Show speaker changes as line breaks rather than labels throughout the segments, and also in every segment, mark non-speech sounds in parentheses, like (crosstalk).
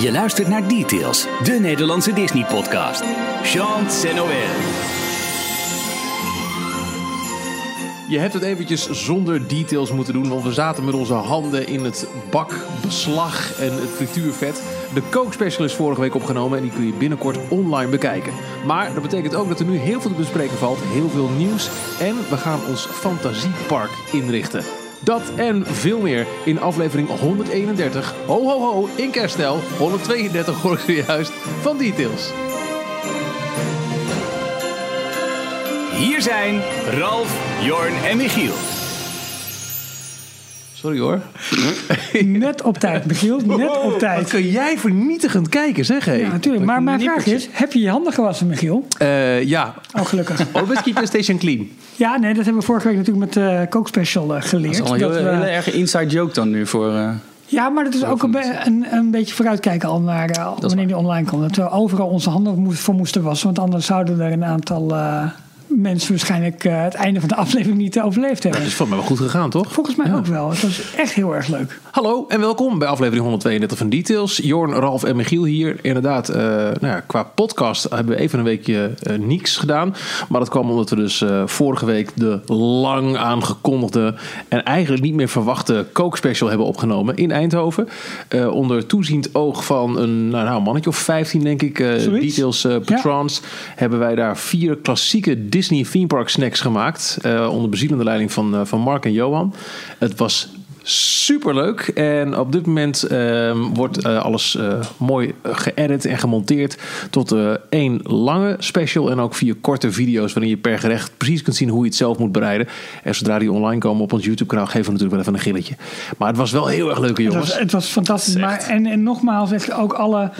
Je luistert naar Details, de Nederlandse Disney-podcast. Jean Noël.
Je hebt het eventjes zonder details moeten doen, want we zaten met onze handen in het bakbeslag en het frituurvet. De kookspecial is vorige week opgenomen en die kun je binnenkort online bekijken. Maar dat betekent ook dat er nu heel veel te bespreken valt, heel veel nieuws en we gaan ons fantasiepark inrichten. Dat en veel meer in aflevering 131, ho ho ho, in kerstel, 132 hoor ik zojuist, van Details.
Hier zijn Ralf, Jorn en Michiel.
Sorry hoor.
Net op tijd, Michiel. Net op
Wat
tijd.
kun jij vernietigend kijken zeg hé.
Ja, natuurlijk. Maar mijn vraag is, heb je je handen gewassen, Michiel?
Eh, ja,
Oh, gelukkig.
Always keep the station clean.
Ja, nee, dat hebben we vorige week natuurlijk met eh kookspecial eh, geleerd.
Dat is al een
dat
hele,
we-
hele erge inside joke dan nu voor... eh,
ja, maar dat is ook een, be- een, een beetje vooruitkijken al naar eh, wanneer die online komt. Dat we overal onze handen moe- voor moesten wassen. Want anders zouden er een aantal eh, mensen waarschijnlijk eh, het einde van de (laughs) aflevering niet eh, overleefd hebben.
Dat is voor mij wel goed gegaan, toch?
Volgens mij ook wel. Het was echt heel erg leuk.
Hallo en welkom bij aflevering 132 van Details. Jorn, Ralf en Michiel hier. Inderdaad, eh, nou ja, qua podcast hebben we even een weekje eh, niks gedaan. Maar dat kwam omdat we dus eh, vorige week de lang aangekondigde... en eigenlijk niet meer verwachte kookspecial hebben opgenomen in Eindhoven. Eh, onder toeziend oog van een nou, nou, mannetje of 15, denk ik. eh,
Zoiets.
Details eh,
Ja.
Patrons hebben wij daar vier klassieke Disney theme park snacks gemaakt. eh, onder bezielende leiding van, eh, van Mark en Johan. Het was superleuk. En op dit moment eh, wordt eh, alles eh, mooi eh, geëdit en gemonteerd. Tot eh, één lange special en ook vier korte video's. Waarin je per gerecht precies kunt zien hoe je het zelf moet bereiden. En zodra die online komen op ons YouTube kanaal geven we natuurlijk wel even een gilletje. Maar het was wel heel erg leuke
Het
jongens.
was, het was fantastisch.
Echt.
Maar, en, en nogmaals, echt ook alle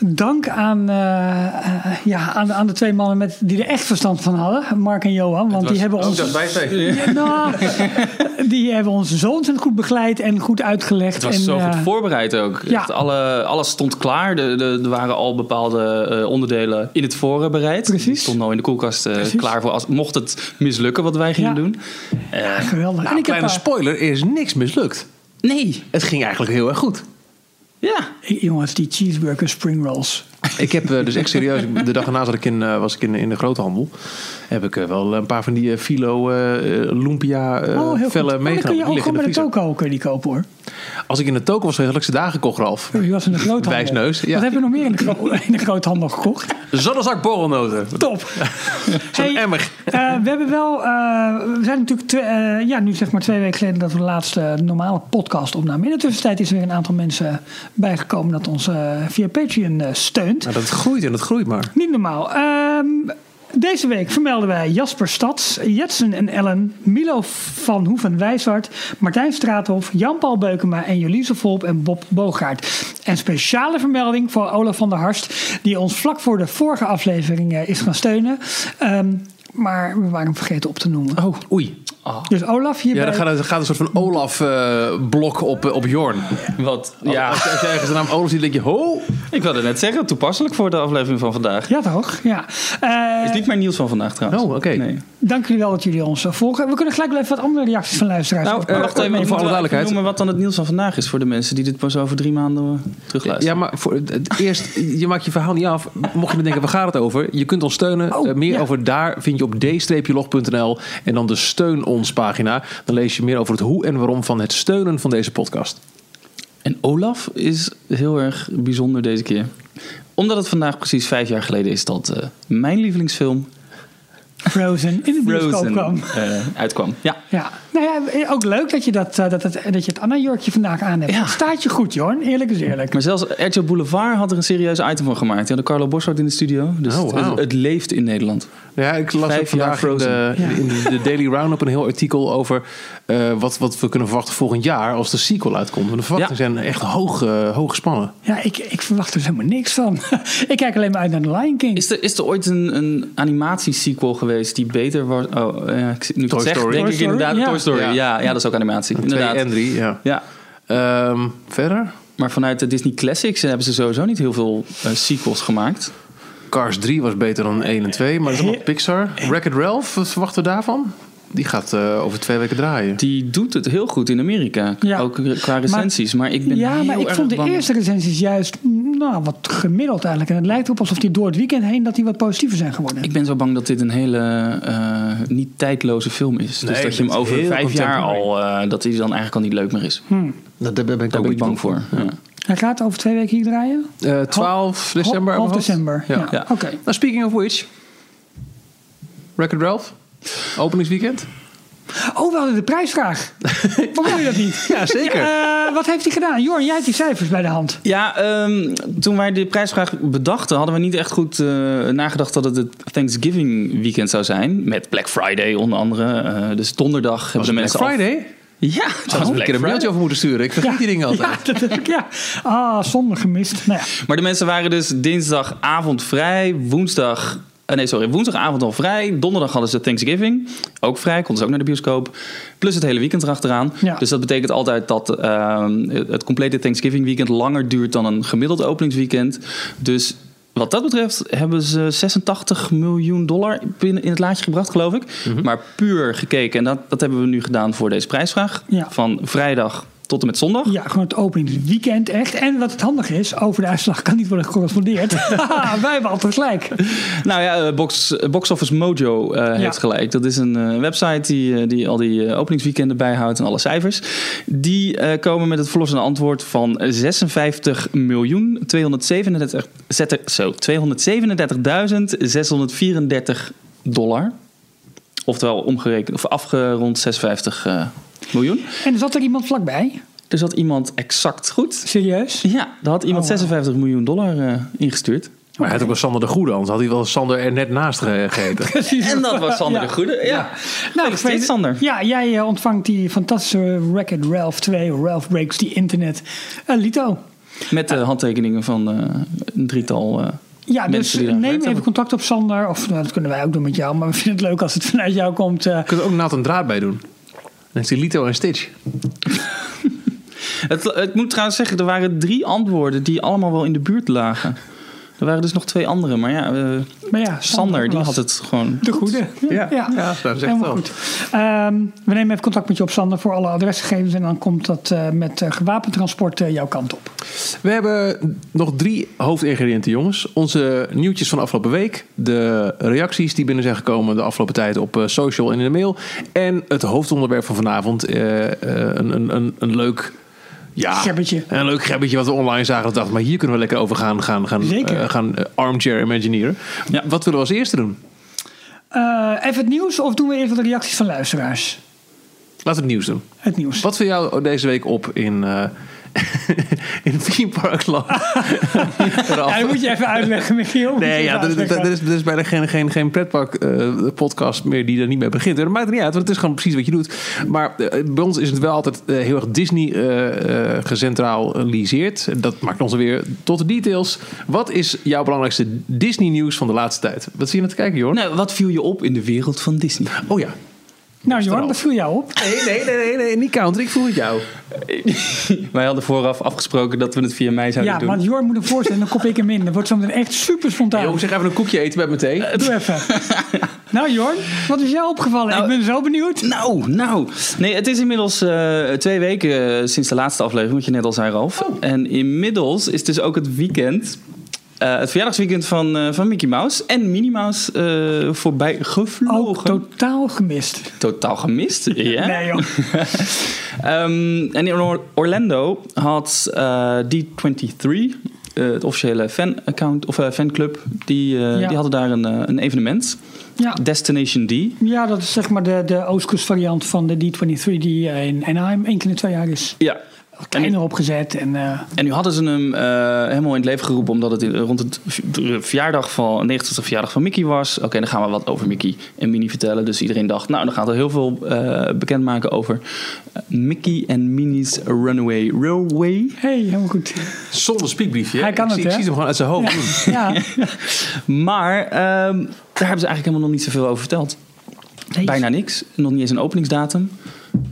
dank aan, eh, eh, ja, aan, de- aan de twee mannen met, die er echt verstand van hadden. Mark en Johan. Want die hebben, ons,
wij twee.
Ja, (laughs) nou, die hebben onze zoons goed begeleid en goed uitgelegd.
Het was
en,
zo
eh,
goed voorbereid ook.
ja.
Echt alle, alles stond klaar. De- de- Er waren al bepaalde eh, onderdelen in het voren bereid.
Precies.
Die stonden al in de koelkast eh,
Precies.
klaar voor als, mocht het mislukken wat wij gingen
Ja.
doen.
ja, geweldig.
Nou,
en ik heb,
kleine
eh,
spoiler, er is niks mislukt.
Nee.
Het ging eigenlijk heel erg goed.
Ja.
ik- jongens, die cheeseburger spring rolls.
Ik heb eh, dus echt serieus, de dag erna zat ik in, eh, was ik in, in de groothandel. Heb ik eh, wel een paar van die eh, filo eh, eh, lumpia eh,
oh, heel
vellen
goed. Maar dan
meegenomen.
kun je
Die
ook
liggen
gewoon bij de
in de vriezer.
toko kun je die kopen hoor.
Als ik in de toko was geweest, had ik ze daar gekocht, Ralf.
Je was
(laughs)
in de groothandel.
Wijsneus, ja.
Wat hebben we nog meer in de, gro- (laughs) in de groothandel gekocht?
Zonnezak borrelnoten.
Top. Hey,
emmer.
eh, we hebben wel, eh, we zijn natuurlijk twee, eh, ja, nu zeg maar twee weken geleden dat we de laatste normale podcast opnamen. In de tussentijd is er weer een aantal mensen bijgekomen dat ons eh, via Patreon eh, steunt.
Nou, dat groeit en dat groeit maar.
Niet normaal. Ehm, deze week vermelden wij Jasper Stads, Jetsen en Ellen, Milo van Hoeven Wijswart, Martijn Straathof, Jan-Paul Beukema en Jolise Volp en Bob Boogaard. En speciale vermelding voor Olaf van der Harst, die ons vlak voor de vorige aflevering eh, is gaan steunen. Ehm, maar we waren hem vergeten op te noemen.
Oh, oei.
Dus Olaf,
Ja, dan
hierbij...
gaat, er- gaat een soort van Olaf-blok op, eh, op Jorn.
Wat, ja.
Als, je- als je ergens de naam Olaf ziet, denk je, ho.
Ik wilde net zeggen, toepasselijk voor de aflevering van vandaag.
ja toch? Ja. Eh, Nou,
Is niet mijn nieuws van vandaag trouwens.
Oh, oké.
Nee.
Dank jullie wel dat jullie ons eh, volgen. We kunnen gelijk wel even wat andere reacties van luisteraars
Nou,
oppakken.
eh, wacht even,
voor
voor
alle
alle
duidelijkheid.
noemen wat dan het nieuws van vandaag is voor de mensen die dit pas over drie maanden eh, terugluisteren.
Ja, maar voor, het- het- eerst, je maakt je verhaal niet af. Mocht je me denken, waar gaat het over? Je kunt ons steunen.
Oh,
Eh, meer
ja.
over daar vind je op d-log.nl en dan de steun ons pagina. Dan lees je meer over het hoe en waarom van het steunen van deze podcast.
En Olaf is heel erg bijzonder deze keer. Omdat het vandaag precies vijf jaar geleden is dat eh, mijn lievelingsfilm
Frozen in de bioscoop
Frozen
kwam.
eh, uitkwam. Ja.
Ja, nou ja, ook leuk dat je, dat, eh, dat, dat, dat je het Anna-jurkje vandaag aan hebt.
Ja.
Staat je goed, Jorn. Eerlijk is eerlijk.
Maar zelfs RTL Boulevard had er een serieus item van gemaakt. Die hadden Carlo Bossard in de studio. Dus
Oh,
het-
wauw.
het, het leeft in Nederland.
Nou Ja, ik las
Vijf
ook vandaag
jaar
in de,
Frozen.
in de- de Daily Roundup een heel artikel over eh, wat, wat we kunnen verwachten volgend jaar als de sequel uitkomt. Want de verwachtingen zijn echt hoog, eh, hoog gespannen.
Ja, ik, ik verwacht er dus helemaal niks van. (laughs) ik kijk alleen maar uit naar The Lion King.
Is er, is er ooit een, een animatiesequel geweest die beter was? Oh, eh, ik, nu ik
Toy
het zeg,
Story.
denk
Toy
ik
Story,
inderdaad
ja.
Toy Story.
Ja.
Ja. Ja, dat is ook animatie. inderdaad.
Twee en drie, ja.
Ja,
Ehm, verder?
maar vanuit de Disney Classics hebben ze sowieso niet heel veel eh, sequels gemaakt.
Cars 3 was beter dan 1 en 2, maar dat is allemaal
He-
Pixar. Wreck-It Ralph, wat verwachten we daarvan? Die gaat eh, over twee weken draaien.
Die doet het heel goed in Amerika.
Ja.
Ook qua recensies. Maar, ik ben
ja,
heel
maar ik
erg
vond de
bang.
eerste recensies juist mm, nou, wat gemiddeld eigenlijk. En het lijkt erop alsof die door het weekend heen dat die wat positiever zijn geworden.
Ik ben zo bang dat dit een hele eh, niet tijdloze film is.
Nee,
dus dat je hem
het is
over
heel
vijf jaar al...
contemporary.
eh, dat hij dan eigenlijk al niet leuk meer is.
Dat, daar ben ik
Daar ben ik bang voor. Ja.
Hij gaat over twee weken hier draaien?
Eh, 12 december.
Half
hebben we gehad.
december, ja.
Ja.
Oké.
Nou, speaking of which. Record Ralph. Openingsweekend.
Oh, we hadden de
(laughs)
prijsvraag. Waarom wil je dat niet?
Ja, zeker.
Eh, wat heeft hij gedaan? Jorn, jij hebt die cijfers bij de hand.
Ja, ehm, toen wij de prijsvraag bedachten, hadden we niet echt goed eh, nagedacht dat het het Thanksgiving weekend zou zijn. Met Black Friday onder andere. Eh, dus donderdag hebben de
Black
mensen al-
Friday.
Ja, het was
Daar had ik
Black
er een
Friday.
mailtje over moeten sturen. Ik vergeet die dingen altijd.
Ja, dat heb ik, ja. Ah, zonde gemist. Nou ja.
Maar de mensen waren dus dinsdagavond vrij, woensdag. eh, Nee, sorry, woensdagavond al vrij. Donderdag hadden ze Thanksgiving. Ook vrij, konden ze ook naar de bioscoop. Plus het hele weekend erachteraan.
Ja.
Dus dat betekent altijd dat ehm, het complete Thanksgiving weekend langer duurt dan een gemiddeld openingsweekend. Dus wat dat betreft hebben ze 86 miljoen dollar binnen- in het laadje gebracht, geloof ik. Maar puur gekeken, en dat, dat hebben we nu gedaan voor deze prijsvraag.
Ja.
Van vrijdag tot en met zondag.
ja, gewoon het openingsweekend echt. En wat het handige is, over de uitslag kan niet worden
(laughs)
gecorrespondeerd. Haha, Wij hebben altijd gelijk.
Nou ja, eh, Box, eh, Box Office Mojo eh, heeft gelijk. Dat is een eh, website die, eh, die al die eh, openingsweekenden bijhoudt en alle cijfers. Die eh, komen met het verlossende antwoord van 56 miljoen 237 zette- zo, 237.634 dollar. Oftewel omgerekend of afgerond 56 eh, miljoen.
En er zat er iemand vlakbij.
Er zat iemand exact goed.
Serieus?
Ja, daar had iemand
Oh, wow.
56 miljoen dollar eh, ingestuurd.
Maar hij had ook wel Sander de Goede, anders had hij wel Sander er net naast ge- gegeten. (laughs)
En dat was Sander de Goede. Ja. Nou, steeds Sander.
Ja, jij eh, ontvangt die fantastische Racket Ralph 2, Ralph Breaks the Internet. Eh, Lito.
Met de handtekeningen van eh, een drietal. eh,
Ja,
mensen
dus
die daar
neem
gewerkt
even
hebben.
contact op Sander. Of nou, dat kunnen wij ook doen met jou. Maar we vinden het leuk als het (laughs) vanuit jou komt. eh.
Je kunt er ook Nathan Draad bij doen. Dan is die Lito en Stitch.
Het, ik moet trouwens zeggen, er waren drie antwoorden die allemaal wel in de buurt lagen. Er waren dus nog twee andere, maar ja, eh,
maar ja, Sander,
Sander die
was
had het gewoon.
De goede.
ja. dat is echt
Helemaal
wel.
goed. Ehm, we nemen even contact met je op Sander voor alle adresgegevens. En dan komt dat eh, met eh, gewapend transport eh, jouw kant op.
We hebben nog drie hoofdingrediënten, jongens. Onze nieuwtjes van de afgelopen week. De reacties die binnen zijn gekomen de afgelopen tijd op eh, social en in de mail. En het hoofdonderwerp van vanavond. eh, eh, een, een, een, een leuk... Ja,
Gebbetje.
een leuk gebbetje wat we online zagen. Dat dacht, maar hier kunnen we lekker over gaan, gaan, gaan,
Zeker.
eh, gaan eh, armchair imagineeren.
Ja.
Wat willen we als eerste doen?
Eh, even het nieuws of doen we eerst wat de reacties van luisteraars?
Laten we het nieuws doen.
Het nieuws.
Wat viel jou deze week op in, eh (laughs) in Theme Park Land?
(laughs)
Ralf?
Ja, dat moet je even uitleggen, Michiel. Moet je
Nee,
even
ja, er, er-
uitleggen.
er is, er is bijna geen, geen, geen pretpark eh, podcast meer die er niet mee begint. En Dat maakt niet uit, want het is gewoon precies wat je doet. Maar eh, bij ons is het wel altijd eh, heel erg Disney eh, eh, gecentraliseerd. En Dat maakt ons weer tot de details. Wat is jouw belangrijkste Disney nieuws van de laatste tijd? Wat zie je naar te kijken, Jorn?
Nou, wat viel je op in de wereld van Disney?
Oh ja.
Nou, Jorn, dat viel jou op.
Nee, nee, nee, nee, nee, niet counter. Ik voel het jou.
Wij hadden vooraf afgesproken dat we het via mij zouden
Ja,
doen.
want Jorn moet hem voorstellen, dan kop ik hem in. Dat wordt zo meteen echt super spontaan.
Yo, zeg even een koekje eten met me thee.
Doe even. nou, Jorn, wat is jou opgevallen?
Nou,
ik ben zo benieuwd.
Nou, nou. Nee, het is inmiddels eh, twee weken eh, sinds de laatste aflevering, wat je net al zei, Ralf. En inmiddels is dus ook het weekend, eh, het verjaardagsweekend van, eh, van Mickey Mouse en Minnie Mouse eh, voorbij
Ook
gevlogen.
totaal gemist.
Totaal gemist. Ja.
Nee, joh.
Ehm, en in Or- Orlando had eh, D23, eh, het officiële fan-account of eh, fanclub, die, eh,
Ja.
die hadden daar een, eh, een evenement.
Ja.
Destination D.
ja, dat is zeg maar de, de Oostkust variant van de D23 die eh, in Anaheim één keer in de twee jaar is.
Ja.
Kleiner opgezet en eh,
En nu hadden ze hem eh, helemaal in het leven geroepen omdat het in- rond het v- de verjaardag van 90 verjaardag van Mickey was. Oké, dan gaan we wat over Mickey en Minnie vertellen. Dus iedereen dacht, nou, dan gaat er heel veel eh, bekendmaken over eh, Mickey en Minnie's Runaway Railway.
hey, helemaal goed.
Zonder spiekbriefje. hè?
Hij kan
ik,
het,
zie- ik
hè?
zie hem gewoon uit zijn hoofd.
Ja,
Maar ehm, daar hebben ze eigenlijk helemaal nog niet zoveel over verteld.
Nee.
(laughs) Bijna niks. Nog niet eens een openingsdatum.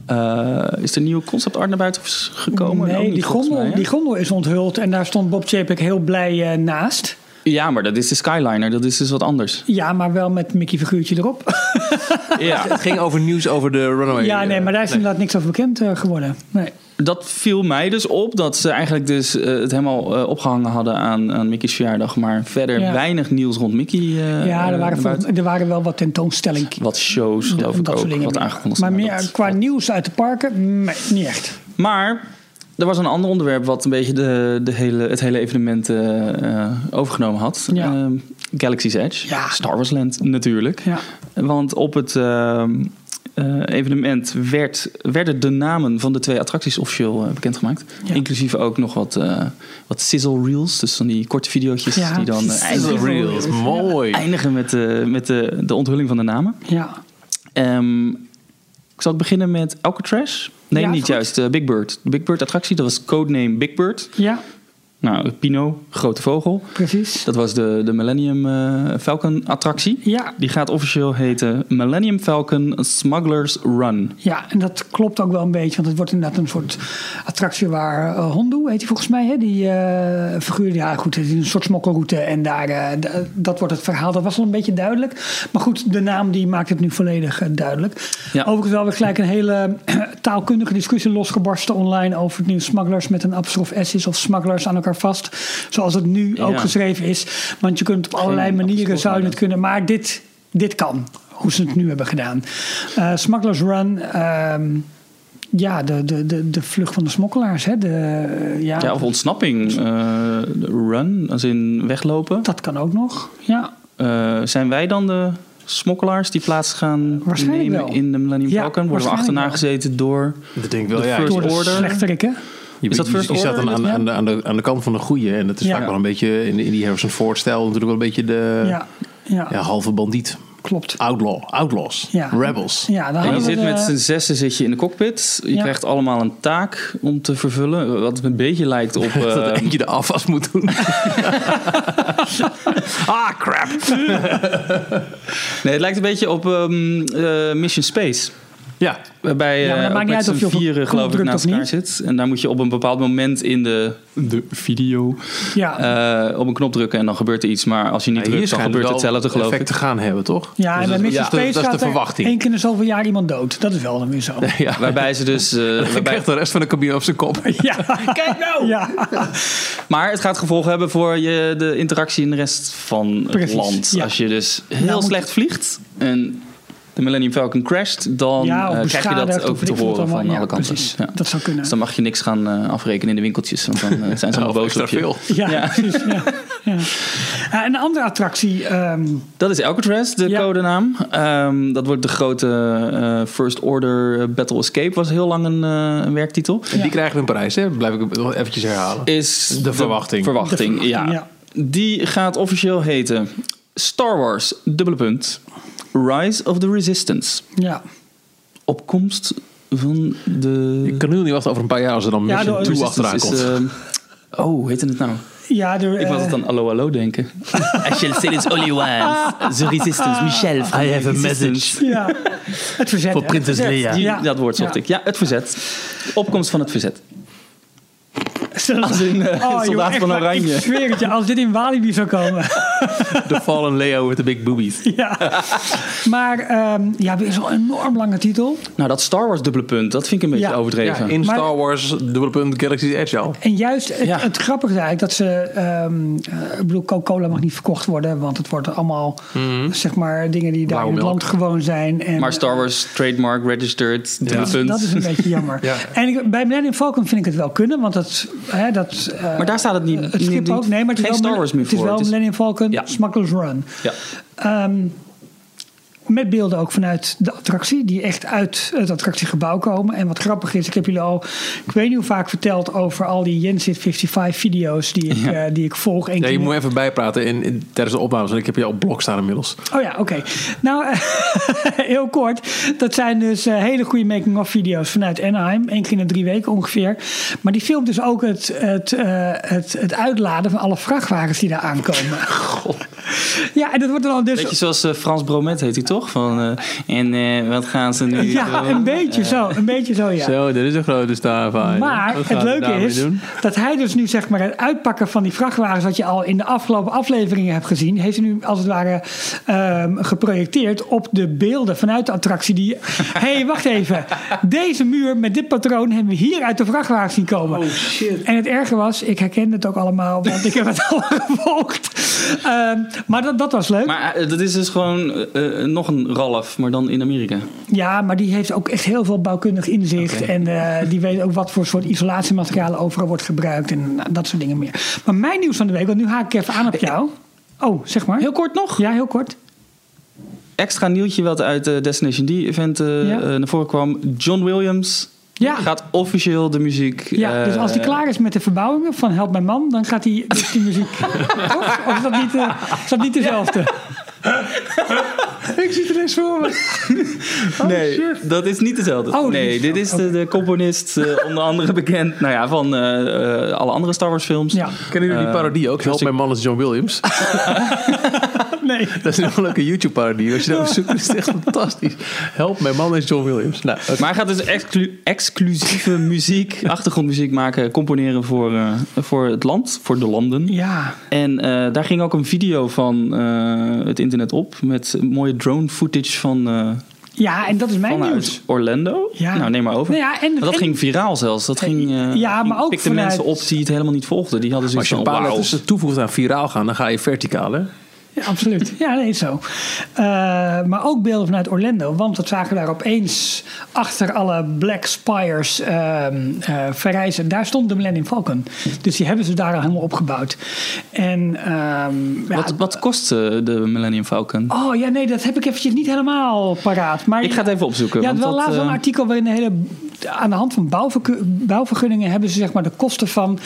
Eh, is er een nieuwe concept art naar buiten ges- gekomen? Ook
Nee,
niet,
die
volgens
gondel,
mij, hè?
die gondel is onthuld en daar stond Bob Chapek heel blij eh, naast.
Ja, maar dat is de Skyliner. Dat is dus wat
(laughs)
anders.
Ja, maar wel met Mickey figuurtje erop.
Het
Ja,
ging over nieuws over de runaway. eh,
ja,
eh,
nee, maar daar is inderdaad niks over bekend eh, geworden. Nee.
dat viel mij dus op. Dat ze eigenlijk dus eh, het helemaal eh, opgehangen hadden aan, aan Mickey's verjaardag. Maar verder
Ja.
weinig nieuws rond Mickey. eh,
ja, er
eh,
waren,
naar
volgens-
buiten.
er waren wel wat tentoonstellingen.
Wat shows
Dat
geloof ik
soort
ook.
dingen.
Wat aangekondigd
Maar
zijn,
meer
dat-
qua nieuws uit de parken, nee, niet echt.
Maar er was een ander onderwerp wat een beetje de, de hele, het hele evenement eh, eh, overgenomen had.
Ja.
Ehm, Galaxy's Edge.
Ja.
Star Wars Land natuurlijk.
Ja.
Want op het ehm, eh, evenement werd, werden de namen van de twee attracties officieel eh, bekendgemaakt.
Ja.
Inclusief ook nog wat, eh, wat sizzle reels. Dus van die korte video's
Ja,
die dan eh,
precies.
eindigen,
Reels, mooi.
eindigen met, de- met eh, de, de onthulling van de namen.
Ja.
Ehm, ik zal beginnen met Alcatraz. Nee,
Ja,
niet
goed.
juist. eh, Big Bird. De Big Bird attractie, dat was codename Big Bird.
ja,
Nou, Pino, grote vogel.
precies.
Dat was de, de Millennium eh, Falcon attractie.
Ja.
Die gaat officieel heten Millennium Falcon Smugglers Run.
Ja, en dat klopt ook wel een beetje, want het wordt inderdaad een soort attractie waar eh, Hondo, heet hij volgens mij, hè? die eh, figuur, ja goed, het is een soort smokkelroute en daar, eh, d- dat wordt het verhaal, dat was al een beetje duidelijk. Maar goed, de naam die maakt het nu volledig eh, duidelijk.
Ja.
Overigens wel weer gelijk een hele eh, taalkundige discussie losgebarsten online over het nieuw smugglers met een apostrof S is of smugglers aan elkaar vast, zoals het nu ook
Ja.
geschreven is. Want je kunt op allerlei manieren
apostrof,
zou je
maar
het kunnen, maar dit, dit kan, hoe ze het nu hebben gedaan. Eh smugglers Run... ehm, ja, de, de, de, de vlucht van de smokkelaars. Hè? De, eh, ja,
Ja, of ontsnapping. eh, run, als in weglopen.
dat kan ook nog. Ja,
Eh, zijn wij dan de smokkelaars die plaats gaan
Waarschijnlijk
nemen
wel.
in de Millennium
Ja,
Falcon? Worden we
waarschijnlijk
achterna
wel.
gezeten door...
Dat denk ik wel,
De
ja.
first
door de
order.
slechterikken.
Je,
Is dat
je-
first
je staat aan,
order,
aan,
dat-
aan, de, aan, de, aan de kant van de goeie. En dat is
Ja.
vaak wel een beetje, in, in die Harrison Ford stijl, natuurlijk wel een beetje de
ja, ja,
Eh, ja, halve bandiet.
klopt.
Outlaw, outlaws,
Ja.
rebels.
Ja, daar
En je
hadden we
zit
de-
met z'n zessen zit je in de cockpit. Je
Ah, eh, Ja.
krijgt allemaal een taak om te vervullen. Wat een beetje
(laughs)
lijkt op... eh,
Dat eentje de afwas moet
(laughs)
doen. ah, crap.
nee, het lijkt een beetje op ehm, eh, Mission Space.
Ja,
Waarbij
Ja, maar dat
eh,
maakt
ook
niet
met
uit of
z'n
je op een
vieren geloof ik
knop
naast
drukt
elkaar
of
zit. En daar moet je op een bepaald moment in de, de video
Ja.
eh, op een knop drukken. En dan gebeurt er iets. Maar als je niet drukt, dan
schijnt
gebeurt
wel
hetzelfde geloof ik.
effect te gaan hebben, toch?
ja, en
Dus
bij
dat-
Mission
ja, dat-
Space
Dat is de
gaat er
verwachting.
één keer in zoveel jaar iemand dood. Dat is wel dan weer zo.
(laughs) Ja.
Waarbij ze dus... eh,
Dan
waarbij,
krijgt de rest van de cabine op zijn kop.
(laughs) Ja. Kijk nou! Ja,
maar het gaat gevolgen hebben voor je, de interactie in de rest van het
Precies,
land.
ja.
Als je dus heel
Nou moet-
slecht vliegt en de Millennium Falcon crasht... dan
ja
eh,
of
krijg je dat
beschadigd
ook
of weet
te
ik wat
horen
allemaal.
van
Ja,
alle kanten.
Precies,
Ja.
dat zou kunnen.
Dus dan mag je niks gaan eh, afrekenen in de winkeltjes. Want dan
(laughs)
eh, zijn ze
Of
allemaal boos
extra
op je.
veel.
Ja,
Ja.
precies. Ja. Ja. Eh, een andere attractie. ehm,
Dat is Alcatraz, de
Ja.
codenaam. Ehm, dat wordt de grote eh, First Order eh, Battle Escape. Was heel lang een, eh, een werktitel.
En die krijgen we in Parijs, hè? Blijf ik het nog eventjes herhalen.
Is
De verwachting.
verwachting,
De verwachting,
ja.
ja.
Die gaat officieel heten Star Wars, dubbele punt, Rise of the Resistance.
ja.
Opkomst van de...
Ik kan nu niet wachten over een paar jaar als er dan
Ja,
Mission
de-
2
Resistance
achteraan
is,
komt.
eh, oh, hoe heette het nou?
ja de,
Ik was het
eh,
dan Allo Allo denken. I shall say this only once. The Resistance, Michel. I have a message.
Ja, het verzet.
Voor
hè,
prinses
het
Leia.
verzet. Ja.
Dat woord zocht
Ja.
ik. Ja, het verzet. Opkomst van het verzet.
(laughs) Als
in, eh, Soldaat van Oranje.
Ik zweer het je, als dit in Walibi zou
(laughs)
komen.
The Fallen Leo with the Big Boobies.
ja. Maar ehm ja, dit is al een enorm lange titel.
Nou, dat Star Wars dubbele punt, dat vind ik een beetje
Ja.
Ja,
overdreven.
in
Maar-
Star Wars, dubbele punt, Galaxy's Edge al.
En juist het,
Ja.
het grappige is eigenlijk dat ze... ehm eh, ik bedoel, Coca-Cola mag niet verkocht worden. Want het wordt allemaal,
Mhm.
zeg maar, dingen die daar
Blauwe
in het
melk.
land gewoon zijn. En,
Maar Star Wars, trademark, registered, dubbele
dat,
punt.
dat is een beetje
(laughs)
jammer.
Ja.
En ik, bij Millennium Falcon vind ik het wel kunnen. Want dat... Hè, dat eh,
maar daar staat het niet.
het schip
niet-
ook, nee, maar het is
geen
wel,
Star
Millen-
Wars meer
het is
voor.
wel
Het is-
Millennium Falcon,
Ja.
Smuggler's Run.
ja.
Ehm, met beelden ook vanuit de attractie, die echt uit het attractiegebouw komen. En wat grappig is, ik heb jullie al, ik weet niet hoe vaak verteld over al die Jensit 55 video's die ik, eh, die ik volg. Eén
Ja, je
keer-
moet even bijpraten in, in- tijdens de opnames, want ik heb je al op blok staan inmiddels.
Oh ja, oké. Nou, (laughs) eh, heel kort. Dat zijn dus eh, hele goede making-of video's vanuit Anaheim. Eén keer in de drie weken ongeveer. Maar die filmt
(laughs)
dus ook het, het, eh, het, het uitladen van alle vrachtwagens die daar aankomen. Ja, en dat wordt dan dus...
Beetje zoals eh, Frans Bromet heet hij toch? Van, eh, en eh, wat gaan ze nu
(laughs) ja,
doen?
een beetje zo. Een beetje zo, ja.
Zo, dit is een grote staaf aan.
Maar
Wat gaan
het
we
leuke
daarmee
is
doen?
dat hij dus nu zeg maar het uitpakken van die vrachtwagens... wat je al in de afgelopen afleveringen hebt gezien... heeft hij nu als het ware ehm, geprojecteerd op de beelden vanuit de attractie.
(laughs)
Die, Hé, hey, wacht even. Deze muur met dit patroon hebben we hier uit de vrachtwagens zien komen.
Oh, shit.
En het erge was, ik herkende het ook allemaal, want ik heb het (laughs) al gevolgd. Ehm, maar dat, dat was leuk.
Maar eh, dat is dus gewoon eh, eh, nog een Ralf, maar dan in Amerika.
Ja, maar die heeft ook echt heel veel bouwkundig inzicht. En eh, die weet ook wat voor soort isolatiematerialen overal wordt gebruikt. En nou, dat soort dingen meer. Maar mijn nieuws van de week, want nu haak ik even aan op jou. Oh, zeg maar.
Eh, Heel kort nog.
Ja, heel kort.
Extra nieuwtje wat uit de Destination D-event eh,
Ja.
eh, naar voren kwam. John Williams
Ja.
gaat officieel de muziek...
Ja, dus als hij
eh,
klaar is met de verbouwingen van Help Mijn Man, dan gaat hij dus die
(laughs)
muziek. Toch? Of is dat niet, eh, is dat niet dezelfde?
Ik zie de rest voor me.
nee, dat is niet dezelfde.
Oh, dat
nee,
is-
dit is de, de componist, eh, (laughs) onder andere bekend nou ja, van eh, eh, alle andere Star Wars films.
Ja.
Kennen jullie die parodie ook? Eh, Help
Jurassic-
mijn man is John (laughs) Williams.
Nee.
Dat is een leuke YouTube-parodie. Als je dat zoekt, is het echt fantastisch. Help, mijn man is John Williams. Nou, oké.
Maar hij gaat dus exclu- exclusieve (laughs) muziek, achtergrondmuziek maken, componeren voor, eh, voor het land, voor de landen.
Ja.
En eh, daar ging ook een video van eh, het internet op met mooie drone footage van, eh,
Ja, en dat is mijn nieuws.
vanuit Orlando.
Ja.
Nou, neem maar over.
Nou ja, en-
Maar dat
en-
ging viraal zelfs. Dat ging, eh,
Ja, maar
die
ook
pikte
vanuit-
mensen op die het helemaal niet volgden. Die hadden
als
zoiets
je een
van,
paar
wauw.
letters toevoegt aan viraal gaan, dan ga je verticaal, hè?
Ja, absoluut. Ja, nee, is zo. Eh, maar ook beelden vanuit Orlando. Want dat zagen we daar opeens achter alle Black Spires ehm, eh, verrijzen. Daar stond de Millennium Falcon. Dus die hebben ze daar al helemaal opgebouwd. En ehm, ja,
Wat, wat kost eh, de Millennium Falcon?
Oh ja, nee, dat heb ik eventjes niet helemaal paraat. Maar
Ik ga het even opzoeken.
ja,
want
wel
dat,
laatst wel een
eh,
artikel waarin de hele, aan de hand van bouwverku- bouwvergunningen hebben ze zeg maar de kosten van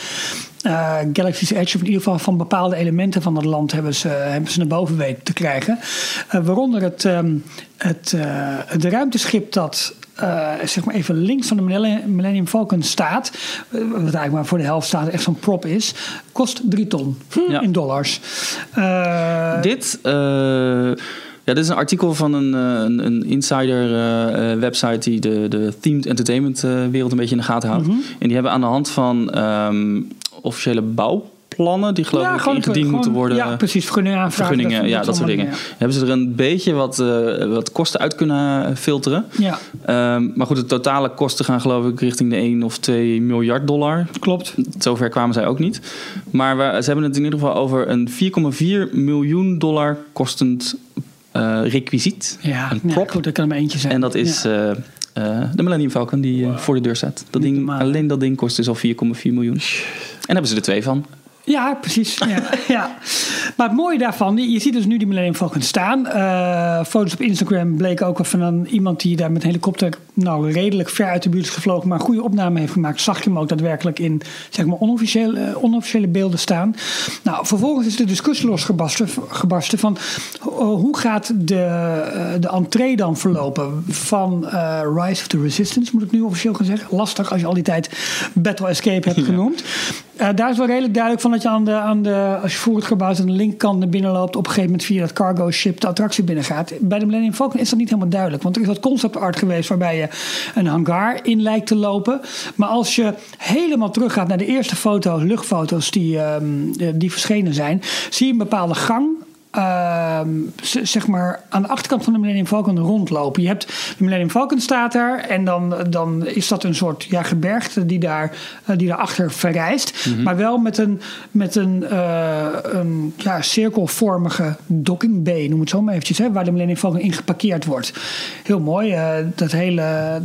eh, Galaxy's Edge, of in ieder geval van bepaalde elementen van het land, hebben ze, hebben ze naar boven weten te krijgen. Eh, waaronder het, ehm, het, eh, het ruimteschip dat. eh, zeg maar even links van de Millennium- Millennium Falcon staat, eh, wat eigenlijk maar voor de helft staat, echt zo'n prop is, kost 3 ton
Ja.
in dollars. Eh,
Dit, eh, ja, dit is een artikel van een, eh, een, een insider eh, eh, website die de, de themed entertainment eh, wereld een beetje in de gaten
Mhm.
houdt. En die hebben aan de hand van ehm, officiële bouwplannen, die geloof ik
gewoon-
ingediend
gewoon-
moeten worden.
Ja, precies. Vergunningen aanvragen.
Vergunningen, ja, dat soort
allemaal
dingen. Hebben ze er een beetje wat, eh, wat kosten uit kunnen filteren.
Ja,
Ehm, maar goed, de totale kosten gaan geloof ik richting de 1 of 2 miljard dollar.
klopt.
Zover kwamen zij ook niet. Maar we, ze hebben het in ieder geval over een 4,4 miljoen dollar kostend eh, requisiet.
Ja,
een
nee,
prop.
goed, dat kan er maar eentje zijn.
En dat is
Ja.
eh, eh, de Millennium Falcon die eh, voor de deur staat. Dat ding,
normaal.
alleen dat ding kost dus al 4,4 miljoen. En hebben ze er twee van.
Ja, precies. Ja, ja. Maar het mooie daarvan, je ziet dus nu die Millennium Falcon staan. Eh, foto's op Instagram bleken ook al van een, iemand die daar met een helikopter nou redelijk ver uit de buurt is gevlogen, maar een goede opname heeft gemaakt. Zag je hem ook daadwerkelijk in zeg maar onofficiële, eh, onofficiële beelden staan. Nou, vervolgens is de discussie losgebarsten gebarsten van ho- hoe gaat de, eh, de entree dan verlopen van eh, Rise of the Resistance, moet ik nu officieel gaan zeggen. Lastig als je al die tijd Battle Escape hebt genoemd. Eh, daar is wel redelijk duidelijk van dat je aan de, aan de, als je voor het gebouw zit aan de linkerkant naar binnen loopt, op een gegeven moment via dat cargo ship de attractie binnengaat. Bij de Millennium Falcon is dat niet helemaal duidelijk, want er is wat concept art geweest waarbij je een hangar in lijkt te lopen. Maar als je helemaal teruggaat naar de eerste foto's, luchtfoto's die, ehm, eh, die verschenen zijn, zie je een bepaalde gang ehm, z- zeg maar aan de achterkant van de Millennium Falcon rondlopen. Je hebt de Millennium Falcon staat daar en dan, dan is dat een soort ja, gebergte die daar eh, die daarachter verrijst, maar wel met een, met een, eh, een ja, cirkelvormige docking bay, noem het zo maar eventjes, hè, waar de Millennium Falcon in geparkeerd wordt. Heel mooi, eh, dat hele eh,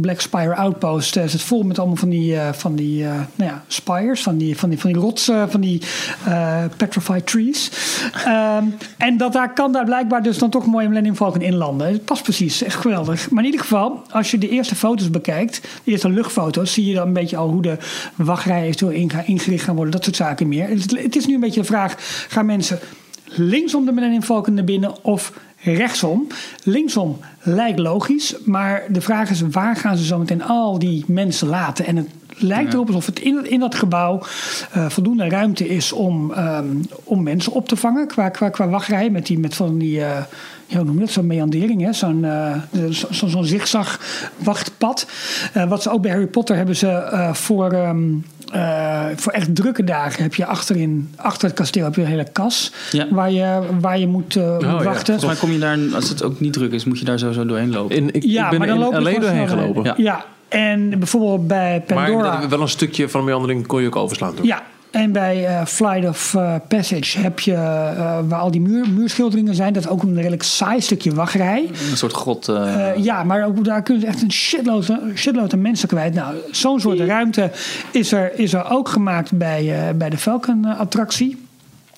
Black Spire Outpost eh, zit vol met allemaal van die, eh, van die eh, nou ja, spires, van die, van die, van die rotsen, van die eh, petrified trees. Ehm, en dat daar kan daar blijkbaar dus dan toch mooi een Millennium Falcon inlanden. Het past precies, echt geweldig. Maar in ieder geval, als je de eerste foto's bekijkt, de eerste luchtfoto's, zie je dan een beetje al hoe de wachtrij eventueel in- ingericht gaan worden, dat soort zaken meer. Het, het is nu een beetje de vraag, gaan mensen linksom de Millennium Falcon naar binnen of rechtsom? Linksom lijkt logisch, maar de vraag is waar gaan ze zo meteen al die mensen laten? En het lijkt erop alsof het in, in dat gebouw eh, voldoende ruimte is om, ehm, om mensen op te vangen. Qua, qua, qua wachtrij met, die, met van die, eh ja, hoe noem je dat, zo'n meandering, hè? zo'n eh, zo- zo- zo'n zigzag wachtpad. Eh, wat ze ook bij Harry Potter hebben ze eh, voor... ehm, eh, voor echt drukke dagen heb je achterin, achter het kasteel heb je een hele kas
Ja.
waar, je, waar je moet, eh, moet
Oh, ja.
wachten.
Volgens mij kom je daar, als het ook niet druk is, moet je daar sowieso doorheen lopen.
En ik, ik ben
loop
er
je
alleen
gewoon
doorheen
snel
gelopen.
doorheen. Ja. en bijvoorbeeld bij
Maar
Pandora.
inderdaad, wel een stukje van de meandering kon je ook overslaan. toch?
Ja, en bij eh, Flight of eh, Passage heb je, eh, waar al die muur, muurschilderingen zijn, dat is ook een redelijk saai stukje wachtrij.
Een soort grot. eh,
Eh, ja, maar ook daar kunnen ze echt een shitload, shitload aan mensen kwijt. Nou, zo'n soort ruimte is er, is er ook gemaakt bij, eh, bij de Falcon-attractie.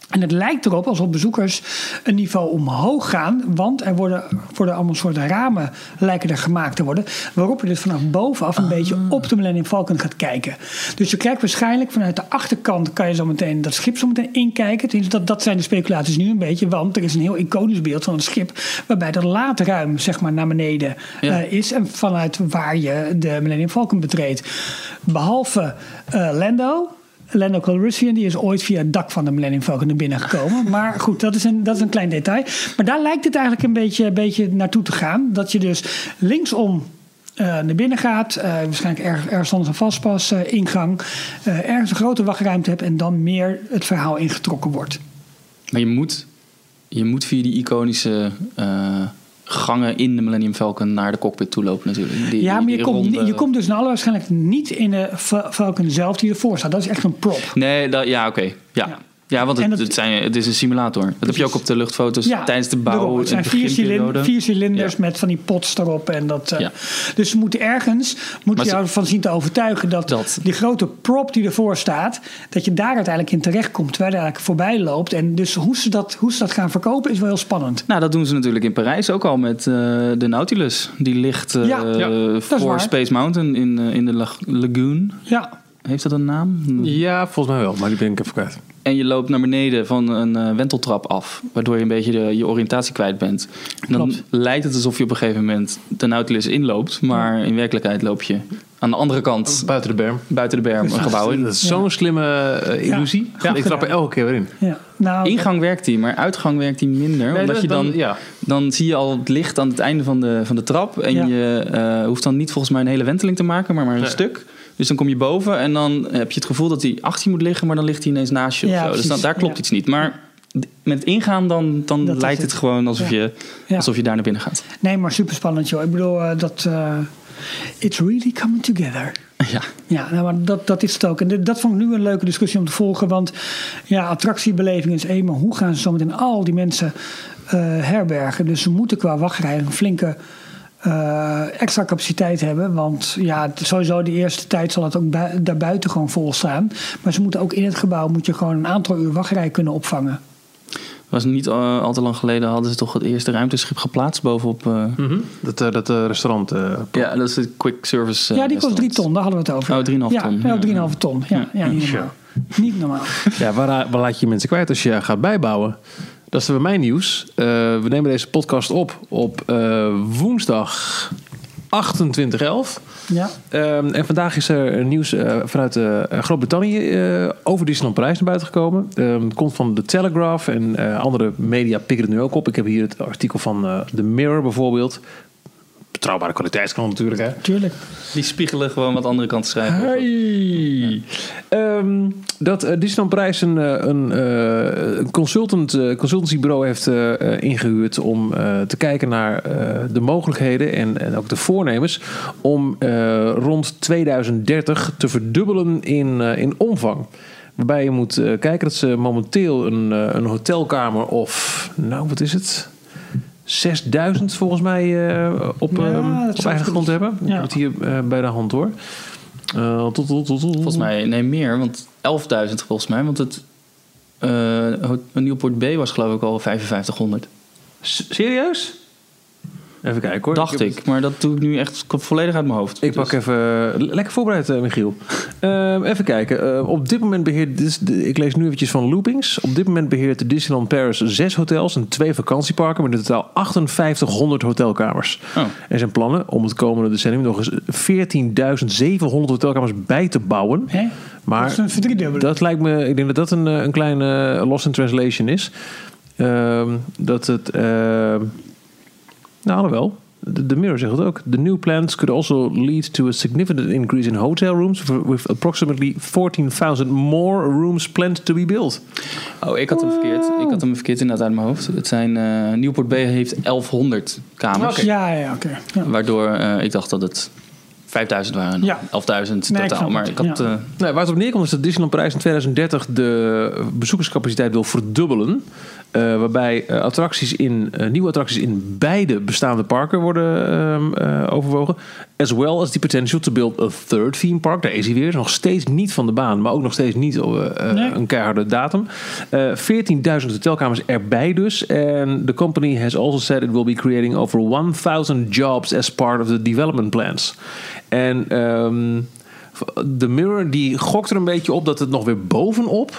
en het lijkt erop alsof bezoekers een niveau omhoog gaan. Want er worden, worden allemaal soorten ramen lijken er gemaakt te worden. Waarop je dus vanaf bovenaf een beetje op de Millennium Falcon gaat kijken. Dus je kijkt waarschijnlijk vanuit de achterkant kan je zo meteen dat schip zo meteen inkijken. Tenminste, Dat, dat zijn de speculaties nu een beetje. Want er is een heel iconisch beeld van het schip. Waarbij dat laadruim zeg maar naar beneden
Ja.
eh, is. En vanuit waar je de Millennium Falcon betreedt. Behalve eh, Lando. Lando Calrissian die is ooit via het dak van de Millennium Falcon naar binnen gekomen. Maar goed, dat is, een, dat is een klein detail. Maar daar lijkt het eigenlijk een beetje, een beetje naartoe te gaan. Dat je dus linksom eh, naar binnen gaat. eh, waarschijnlijk erg- ergens anders een vastpas eh, ingang. eh, ergens een grote wachtruimte hebt en dan meer het verhaal ingetrokken wordt.
Maar je moet, je moet via die iconische eh, gangen in de Millennium Falcon naar de cockpit toe lopen natuurlijk. Die-
ja,
die-
maar je
die
komt,
ronde-
je komt dus naar alle waarschijnlijk niet in de Fa- Falcon zelf die ervoor staat. Dat is echt een prop.
Nee, dat, ja, oké. Ja.
Ja.
ja. want
En
het,
dat-
het, zijn, het is een simulator. Dat heb je ook op de luchtfoto's
Ja,
Dus tijdens de bouw.
daarom.
in
Het zijn
de
vier,
beginperiode.
cilin- vier cilinders
Ja.
met van die pots erop. En dat, eh,
Ja.
Dus ze moeten ergens moeten
Maar ze-
jou ervan zien te overtuigen dat,
Dat.
die grote prop die ervoor staat, dat je daar uiteindelijk in terechtkomt, terwijl je eigenlijk voorbij loopt. En dus hoe ze, dat, hoe ze dat gaan verkopen is wel heel spannend.
Nou, dat doen ze natuurlijk in Parijs ook al met eh, de Nautilus. Die ligt eh,
Ja,
ja,
dat is waar.
voor Space Mountain in, eh, in de lag- lagoon.
Ja,
Heeft dat een naam?
Ja, volgens mij wel, maar die ben ik even kwijt.
En je loopt naar beneden van een eh, wenteltrap af. Waardoor je een beetje de, je oriëntatie kwijt bent. En dan
Klopt.
lijkt het alsof je op een gegeven moment de Nautilus inloopt. Maar in werkelijkheid loop je aan de andere kant
Buiten de berm.
buiten de berm een
(laughs)
gebouw in.
Oh, Dat is zo'n slimme eh, illusie.
Ja.
Ik trap er elke keer weer in.
ja. Nou,
Ingang werkt die, maar uitgang werkt die minder.
Nee,
omdat
dat-
je dan,
ja.
dan zie je al het licht aan het einde van de, van de trap. En
Ja.
je eh, hoeft dan niet volgens mij een hele wenteling te maken, maar maar een
Nee.
stuk. Dus dan kom je boven en dan heb je het gevoel dat die 18 moet liggen, maar dan ligt hij ineens naast je.
Ja,
of zo. Dus
precies.
dan, daar klopt
Ja.
iets niet. Maar d- met ingaan dan,
Dat
dan
is
lijkt
het.
het gewoon alsof,
Ja.
je,
Ja.
alsof je daar naar binnen gaat. (laughs)
nee, maar super spannend joh. Ik bedoel, eh, dat. eh, it's really coming together.
Ja.
Ja, nou, maar dat, dat is het ook. En dit- dat vond ik nu een leuke discussie om te volgen. Want ja, attractiebeleving is één, maar hoe gaan ze zometeen al die mensen eh, herbergen? Dus ze moeten qua wachtrij een flinke eh, extra capaciteit hebben. Want ja, het- sowieso de eerste tijd zal het ook bui- daarbuiten gewoon vol staan. Maar ze moeten ook in het gebouw moet je gewoon een aantal uur wachtrij kunnen opvangen.
Was niet eh, al te lang geleden hadden ze toch het eerste ruimteschip geplaatst bovenop. eh,
Dat, eh, dat eh, restaurant. eh,
Ja, dat is het quick service. eh,
ja, die kost drie
restaurant.
ton, daar hadden we het over.
Oh, 3,5
ja,
ton.
Ja,
Ja.
3,5 ton. Ja, ja, niet normaal. Niet normaal.
Ja, waar, waar laat je je mensen kwijt als je gaat bijbouwen? Dat is bij mijn nieuws. Eh, we nemen deze podcast op op eh, woensdag 28 11.
Ja.
Ehm, en vandaag is er nieuws eh, vanuit eh, Groot-Brittannië eh, over Disneyland Parijs naar buiten gekomen. Ehm, het komt van The Telegraph en eh, andere media pikken het nu ook op. Ik heb hier het artikel van eh, The Mirror bijvoorbeeld. Betrouwbare kwaliteitskant natuurlijk, hè?
Tuurlijk.
Die spiegelen gewoon wat andere kanten schrijven.
Hey. Ehm, dat eh, Disneyland Parijs een, eh, een eh, een consultant, eh, consultancybureau heeft eh, eh, ingehuurd om eh, te kijken naar eh, de mogelijkheden en, en ook de voornemens om eh, rond 2030 te verdubbelen in, eh, in omvang. Waarbij je moet eh, kijken dat ze momenteel een, eh, een hotelkamer of, nou wat is het? 6000 volgens mij eh, op,
Ja,
eh,
dat zou
op eigen
kunnen.
grond hebben. Ik
Ja.
heb het hier eh, bij de hand hoor. Eh, tot, tot, tot, tot.
Volgens
Mhm.
mij, nee meer, want 11.000 volgens mij. Want het eh, ho- Nieuwpoort B was geloof ik al 5500.
S- serieus? Ja, Even kijken hoor.
Dacht
heb
ik. Maar dat doe ik nu echt volledig uit mijn hoofd.
Ik pak
Dus-
even. Lekker voorbereid, eh, Michiel. Ehm, even kijken. Eh, op dit moment beheert. Dis- de- ik lees nu eventjes van Loopings. Op dit moment beheert Disneyland Paris zes hotels en twee vakantieparken. Met in totaal 5800 hotelkamers.
Oh.
Er zijn plannen om het komende decennium nog eens 14.700 hotelkamers bij te bouwen.
Hè?
Maar
Dat is een verdriedubbeling.
dat lijkt me, ik denk dat dat een, eh, een kleine eh, loss in translation is. Ehm, dat het, ehm nou alhoewel, de, de Mirror zegt het ook. The new plans could also lead to a significant increase in hotel rooms with approximately 14,000 more rooms planned to be built.
Oh, ik had hem verkeerd. Ik had hem verkeerd inderdaad uit mijn hoofd. Het zijn, eh, Nieuwpoort B heeft 1100 kamers.
Ja, ja, oké. Ja.
Waardoor eh, ik dacht dat het 5000 waren.
Ja.
11.000
Nee, ik
totaal.
snap
maar
het.
ik had.
Ja.
eh,
Nou, waar het op neerkomt is dat Disneyland Parijs in 2030 de bezoekerscapaciteit wil verdubbelen. Eh, waarbij eh, attracties in, eh, nieuwe attracties in beide bestaande parken worden ehm, eh, overwogen. As well as the potential to build a third theme park. Daar is hij weer. Is nog steeds niet van de baan, maar ook nog steeds niet eh, eh,
Nee.
een keiharde datum. Eh 14.000 hotelkamers erbij dus. En the company has also said it will be creating over 1.000 jobs as part of the development plans. En ehm, de Mirror die gokt er een beetje op dat het nog weer bovenop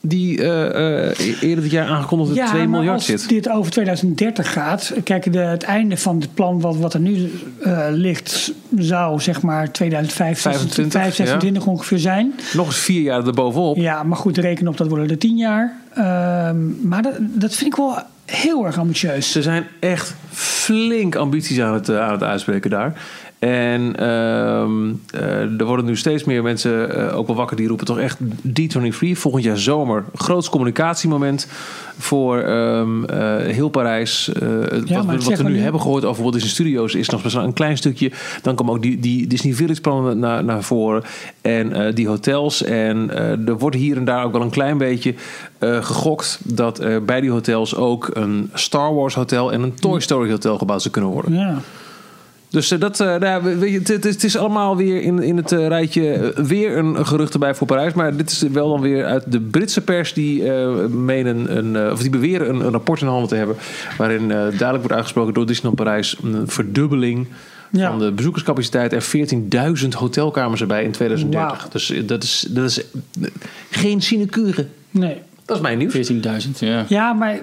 die eh, eh, eerder dit jaar aangekondigde
Ja,
2
maar
miljard
als
zit.
dit over 2030 gaat, kijk, de, het einde van het plan wat, wat er nu eh, ligt, zou zeg maar 2025,
25,
2025, 2026 ongeveer zijn.
Nog eens vier jaar erbovenop.
Ja, maar goed, reken op, dat worden er 10 jaar. Ehm, maar dat, dat vind ik wel heel erg ambitieus.
Ze zijn echt flink ambities aan het, eh, aan het uitspreken daar. En ehm, eh, er worden nu steeds meer mensen eh, ook wel wakker. Die roepen toch echt D23 volgend jaar zomer. Groots communicatiemoment voor ehm, eh, heel Parijs. Eh, wat
maar
we-
ik
wat
zeg
we
maar
nu
nu-
hebben gehoord over Walt Disney Studios is nog best wel een klein stukje. Dan komen ook die, die Disney Village plannen naar, naar voren. En eh, die hotels. En eh, er wordt hier en daar ook wel een klein beetje eh, gegokt dat er bij die hotels ook een Star Wars hotel en een Toy Story hotel gebouwd zou kunnen worden.
Ja.
Dus eh, dat, eh, nou ja, weet je, het, het is, het is allemaal weer in, in het eh, rijtje eh, weer een gerucht erbij voor Parijs. Maar dit is wel dan weer uit de Britse pers die, eh, menen een, eh, of die beweren een, een rapport in handen te hebben. Waarin eh, duidelijk wordt uitgesproken door Disneyland Parijs een verdubbeling
Ja.
van de bezoekerscapaciteit. Er 14.000 hotelkamers erbij in 2030.
Wauw.
Dus eh, dat is, dat is eh, geen sinecure.
Nee.
Dat is mijn nieuws.
14.000, ja.
Ja, maar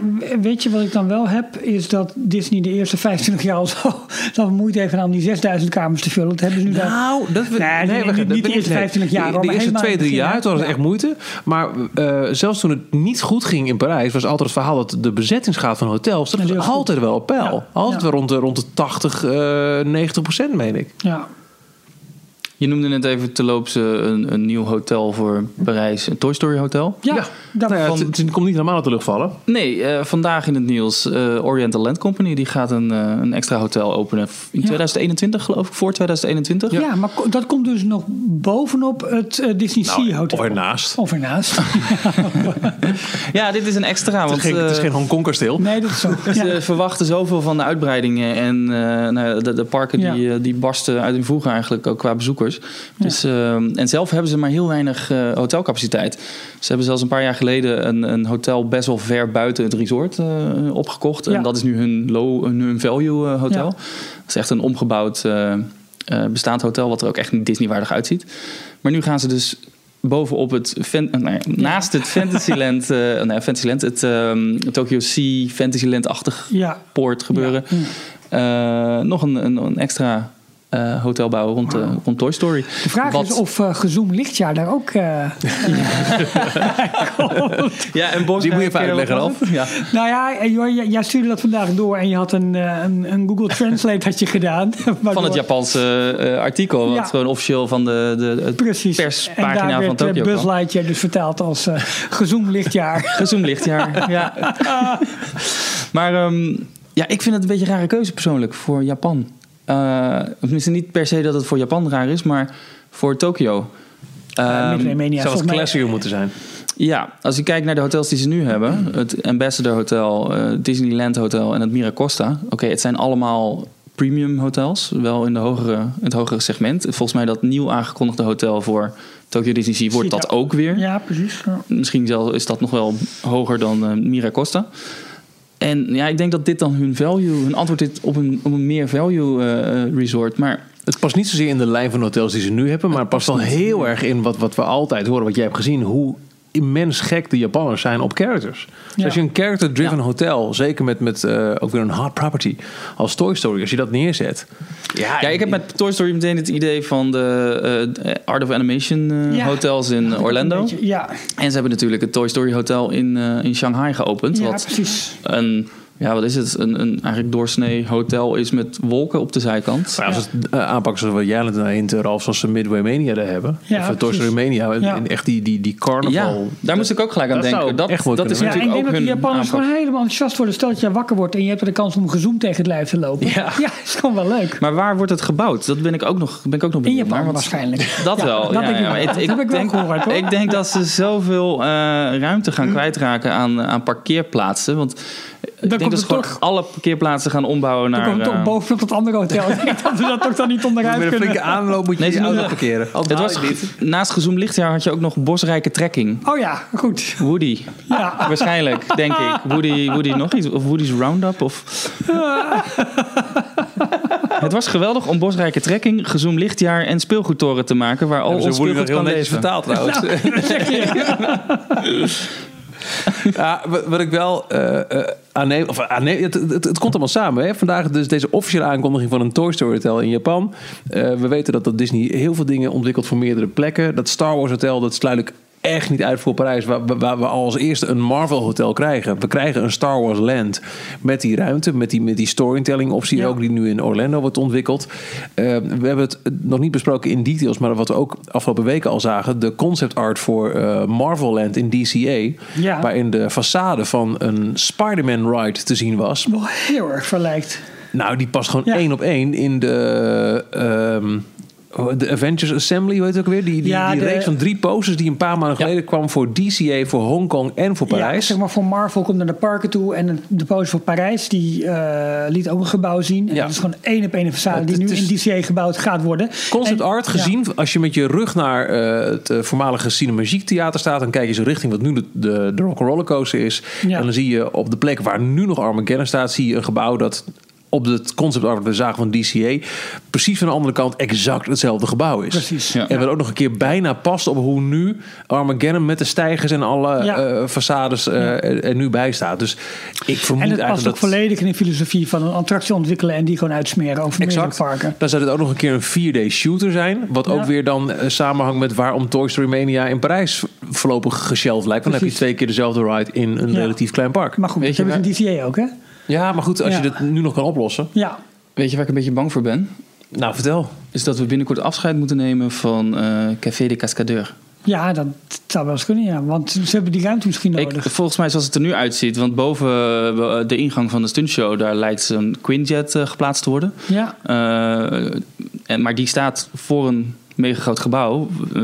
weet je wat ik dan wel heb? Is dat Disney de eerste 25 jaar al zo, (laughs) zo moeite heeft gedaan om die 6000 kamers te vullen. Dat hebben ze nu daar-
Nou, dat we,
Nee, nee,
we-
niet-
dat
niet
we-
de eerste 25 jaar,
De,
hoor,
de
maar
eerste
helemaal
twee,
in
drie
het begin,
jaar,
hè?
toen was het
Ja.
echt moeite. Maar eh, zelfs toen het niet goed ging in Parijs, was altijd het verhaal dat de bezettingsgraad van hotels, dat was
Natuurlijk goed.
altijd wel op peil.
Ja.
Altijd
Ja.
wel rond de, rond de 80, eh 90 procent, meen ik.
Ja.
Je noemde net even terloops eh, een, een nieuw hotel voor Parijs, een Toy Story Hotel.
Ja, dat-
nou ja,
van-
het, het komt niet helemaal uit de lucht vallen.
Nee, eh, vandaag in het nieuws. eh, Oriental Land Company die gaat een, eh, een extra hotel openen. In
Ja.
2021 geloof ik, voor 2021.
Ja. maar ko- dat komt dus nog bovenop het eh, Disney
Nou,
Sea Hotel.
Of ernaast.
Of ernaast. (laughs)
Ja, dit is een extra.
Het
Want,
is geen, het is
eh,
geen Hongkong kasteel.
Nee, dat is zo.
Ze
Ja.
verwachten zoveel van de uitbreidingen en eh, nou ja, de, de parken
Ja.
die, eh, die barsten uit hun voegen eigenlijk ook qua bezoekers. Dus, ehm, en zelf hebben ze maar heel weinig eh, hotelcapaciteit. Ze hebben zelfs een paar jaar geleden een, een hotel best wel ver buiten het resort eh, opgekocht.
Ja.
En dat is nu hun low, hun, hun value eh, hotel.
Ja.
Dat is echt een omgebouwd eh, eh, bestaand hotel wat er ook echt niet Disney-waardig uitziet. Maar nu gaan ze dus bovenop het fan- eh, nou ja, naast het Fantasyland,
(laughs)
eh nou ja, Fantasyland, het ehm, Tokyo Sea Fantasyland-achtig
ja.
poort gebeuren.
Ja.
Eh, nog een, een, een extra eh, hotel bouwen rond, eh, rond Toy Story.
De vraag
Wat-
is of eh Gezoom Lichtjaar daar ook... eh,
Ja, en Bos,
Die moet je even
eh,
uitleggen,
wat was het? Ja.
Nou ja, eh, joh, jij, jij stuurde dat vandaag door en je had een, eh, een, een Google Translate had je gedaan. (laughs)
Van het Japanse eh, artikel, wat
Ja.
gewoon officieel van de, de het
Precies. en
perspagina
daar
van
werd eh,
Tokyo
Buzz
kwam.
Lightyear dus vertaald als eh Gezoom (laughs)
(laughs)
Lichtjaar.
Gezoomd lichtjaar, ja. maar ehm, ja, ik vind het een beetje een rare keuze persoonlijk voor Japan. Eh, tenminste, niet per se dat het voor Japan raar is, maar voor Tokio.
Ja,
Ehm,
Midway Mania,
zou het
volgens mij-
classier moeten zijn.
Ja, als ik kijk naar de hotels die ze nu hebben. Het Ambassador Hotel, eh, Disneyland Hotel en het Miracosta. Oké, het zijn allemaal premium hotels. Wel in, de hogere, in het hogere segment. Volgens mij dat nieuw aangekondigde hotel voor Tokyo Disney Sea wordt
Ziet
dat
er-
ook weer.
Ja, precies. Ja.
Misschien zelfs is dat nog wel hoger dan eh, Miracosta. En ja, ik denk dat dit dan hun value, hun antwoord is op een, op een meer value eh, eh, resort. Maar
Het past niet zozeer in de lijn van hotels die ze nu hebben, maar het past wel heel erg in wat, wat we altijd horen, wat jij hebt gezien, hoe immens gek de Japanners zijn op characters. Dus
Ja.
als je een character-driven hotel, zeker met, met eh, ook weer een hard property als Toy Story, als je dat neerzet. Ja,
ja, ik heb met Toy Story meteen het idee van de eh, Art of Animation eh,
Ja.
hotels in Orlando.
Een beetje, Ja,
En ze hebben natuurlijk het Toy Story Hotel in, eh, in Shanghai geopend.
ja
wat
precies.
een, ja, wat is het? Een, een eigenlijk doorsnee hotel is met wolken op de zijkant.
Maar als we het eh, aanpakken zoals wat jij net hint, Ralf, zoals ze Midway Mania daar hebben.
Ja,
of eh, Toy Story
precies.
Mania. En,
Ja.
en echt die, die, die carnaval.
Ja, daar moest ik ook gelijk aan
Dat zou
denken. Dat,
echt wel
dat is
kunnen.
Ja, ik
natuurlijk
denk dat
ook
die
hun
Japanners
aanpak.
gewoon helemaal enthousiast worden. Stel dat jij wakker wordt en je hebt de kans om gezoomd tegen het lijf te lopen.
Ja.
(laughs) is gewoon wel leuk.
Maar waar wordt het gebouwd? Dat ben ik ook nog, ben ik ook nog
In
benieuwd
Japan
naar, want-
waarschijnlijk.
Dat
Ja,
wel.
dat
ja,
denk ik
ja,
wel.
maar ik,
Dat heb ik wel
denk,
gehoord, hoor. Hm.
Ik denk dat ze zoveel eh, ruimte gaan kwijtraken aan, aan parkeerplaatsen. Want eh, ik
komt
denk dat
het
ze gewoon
toch-
alle parkeerplaatsen gaan ombouwen
Dan
naar...
komt het
eh,
toch bovenop dat andere
(laughs)
hotel. Ik denk dat we dat toch dan niet onderuit
Met een flinke
kunnen.
aanloop moet je
Nee, ze
je auto
noemen-
parkeren.
het was, naast gezoomd lichtjaar had je ook nog bosrijke trekking.
Oh ja, (laughs) goed.
Woody,
Ja.
waarschijnlijk, denk ik. Woody, Woody nog iets? Of Woody's Roundup?
(laughs)
Of... het was geweldig om bosrijke trekking, gezoomd lichtjaar en speelgoedtoren te maken... waar al
Oh,
ons
zo wordt
speelgoed
dat heel
kan
netjes
leven.
vertaald trouwens. (laughs) (laughs) Ja, wat- wat ik wel eh, eh, aanneem, of aanneem het, het, het komt allemaal samen. Hè? Vandaag dus deze officiële aankondiging van een Toy Story Hotel in Japan. Eh, we weten dat, dat Disney heel veel dingen ontwikkelt voor meerdere plekken. Dat Star Wars Hotel, dat sluit ik echt niet uit voor Parijs, waar, waar we als eerste een Marvel Hotel krijgen. We krijgen een Star Wars Land met die ruimte, met die, met die storytelling optie ook, die nu in Orlando wordt ontwikkeld. Eh, we hebben het nog niet besproken in details, maar wat we ook afgelopen weken al zagen, de concept art voor eh, Marvel Land in DCA,
Ja.
waarin de façade van een Spider-Man ride te zien was.
Wel heel erg verlijkt.
Nou, die past gewoon
Ja.
één op één in de, ehm, de Avengers Assembly, hoe heet het ook weer? Die, die,
Ja,
die
de-
reeks van drie posters die een paar maanden
Ja.
geleden kwam voor DCA, voor Hongkong en voor
Ja,
Parijs.
zeg maar voor Marvel komt naar de parken toe. En de pose voor Parijs die eh, liet ook een gebouw zien. En
Ja.
dat is gewoon één op één een façade
Het-
die nu
het
in
is-
DCA gebouwd gaat worden.
Concept
En-
art
ja.
gezien, als je met je rug naar eh, het eh, voormalige Cinemagiek Theater staat, dan kijk je zo richting wat nu de, de, de Rock'n'Roller Coaster is.
Ja.
En dan zie je op de plek waar nu nog Armageddon staat, zie je een gebouw dat op het concept art dat we zagen van DCA, precies van de andere kant exact hetzelfde gebouw is.
Precies.
Ja.
En wat ook nog een keer bijna past op hoe nu Armageddon met de stijgers en alle
Ja.
eh, façades eh, er, er nu bij staat. Dus ik vermoed
En het
eigenlijk
past ook
dat...
volledig in de filosofie van een attractie ontwikkelen en die gewoon uitsmeren over meerdere
Exact.
parken.
Dan zou dit ook nog een keer een 4D shooter zijn. Wat ook
Ja.
weer dan eh, samenhangt met waarom Toy Story Mania in Parijs voorlopig geshelved lijkt. Want dan heb je
Precies.
twee keer dezelfde ride in een
Ja.
relatief klein park.
Maar goed,
Weet
dat
je
hebben ze in DCA ook, hè?
Ja, maar goed, als
Ja.
je dat nu nog kan oplossen.
Ja.
Weet je waar ik een beetje bang voor ben?
Nou, vertel.
is dat we binnenkort afscheid moeten nemen van eh, Café de Cascadeur.
Ja, dat zou wel eens kunnen, ja. Want ze hebben die ruimte misschien
Nou,
Ik,
nodig.
volgens mij zoals het er nu uitziet, want boven eh, de ingang van de stuntshow... daar lijkt een Quinjet eh, geplaatst te worden.
ja.
Eh, en, maar die staat voor een mega groot gebouw eh,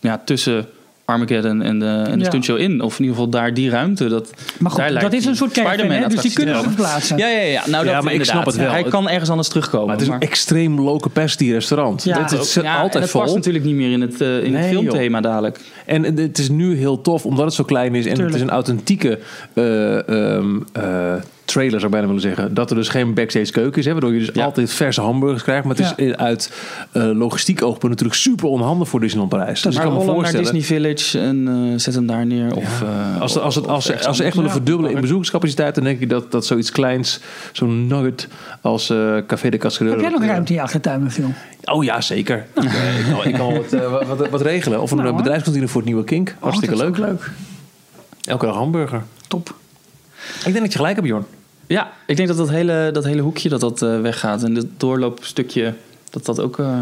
ja, tussen... Armageddon en de, en de
Ja.
stuntshow in. Of in ieder geval daar die ruimte. Dat,
Maar goed,
daar lijkt
dat is
die
een soort caravan,
Spider-Man
hè, dus die
attractie
kunnen
te
ze
komen.
verplaatsen.
Ja, ja, ja. Nou,
Ja,
dat,
maar ik snap
inderdaad.
het wel.
Hij kan ergens anders terugkomen.
Maar het is een
maar-
extreem low capacity restaurant.
Ja.
Dat is
Ja, en
altijd
het past
vol.
natuurlijk niet meer in het, eh, in het
Nee, Dus
filmthema dadelijk.
En het is nu heel tof, omdat het zo klein is. En
Tuurlijk.
het is een authentieke eh, ehm, eh, trailer, zou ik bijna willen zeggen. Dat er dus geen backstage keuken is. Hè, waardoor je dus
Ja.
altijd verse hamburgers krijgt. Maar het is eh, uit eh, logistiek oogpunt natuurlijk super onhandig voor Disneyland Parijs. Dus ik
maar
kan me
rol hem naar
voorstellen...
Disney Village en eh, zet hem daar neer. Of, eh,
Als, als, het, als, ze- als ze echt willen
Ja.
verdubbelen in bezoekerscapaciteit... dan denk ik dat, dat zoiets kleins, zo'n nugget als eh, Café de Cascadeur...
Heb jij nog
eh,
ruimte in je achtertuin, Michiel?
Oh ja, zeker.
(laughs)
Ik, eh, ik kan, ik kan wat, eh, wat, wat, wat regelen. Of een
Nou,
eh,
hoor. Oh,
bedrijfskantine voor het nieuwe Kink. Hartstikke
dat is
leuk.
ook leuk.
Elke dag hamburger.
Top.
Ik denk dat je gelijk hebt, Jorn.
ja, ik denk dat dat hele, dat hele hoekje dat dat, eh, weggaat. En dat doorloopstukje, dat dat ook... eh,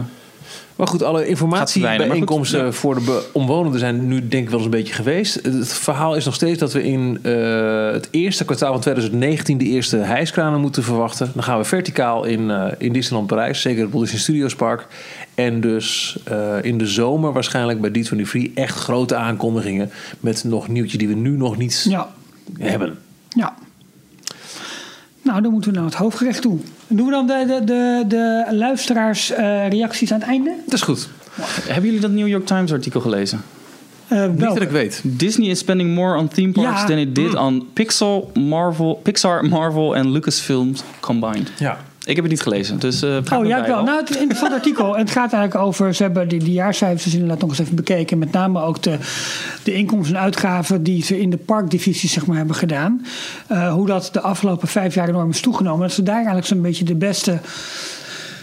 Maar goed, alle
Gaat
informatiebijeenkomsten
verdwijnen,
voor de be- omwonenden zijn nu denk ik wel eens een beetje geweest. Het verhaal is nog steeds dat we in eh, het eerste kwartaal van 2019 de eerste hijskranen moeten verwachten. Dan gaan we verticaal in, eh, in Disneyland Parijs, zeker het Disney Studios Park. En dus eh, in de zomer waarschijnlijk bij D23 echt grote aankondigingen met nog nieuwtje die we nu nog niet
Ja.
hebben.
Ja. Nou, dan moeten we naar het hoofdgerecht toe. Doen we dan de, de, de, de luisteraars eh, reacties aan het einde?
Dat is goed.
Hebben jullie dat New York Times artikel gelezen?
Eh,
Niet
welke?
dat ik weet.
Disney is spending more on theme parks
Ja. Mm.
than it did on Pixar, Marvel, Pixar, Marvel en Lucasfilms combined.
Ja.
Ik heb het niet gelezen, dus eh vraag
Oh,
me
ja,
bij
ik wel.
wel.
Nou, het is een interessant artikel. En het gaat eigenlijk over, ze hebben die, die jaarcijfers dus inderdaad nog eens even bekeken. Met name ook de, de inkomsten en uitgaven die ze in de parkdivisies zeg maar, hebben gedaan. Eh, hoe dat de afgelopen vijf jaar enorm is toegenomen. Dat ze daar eigenlijk zo'n beetje de beste...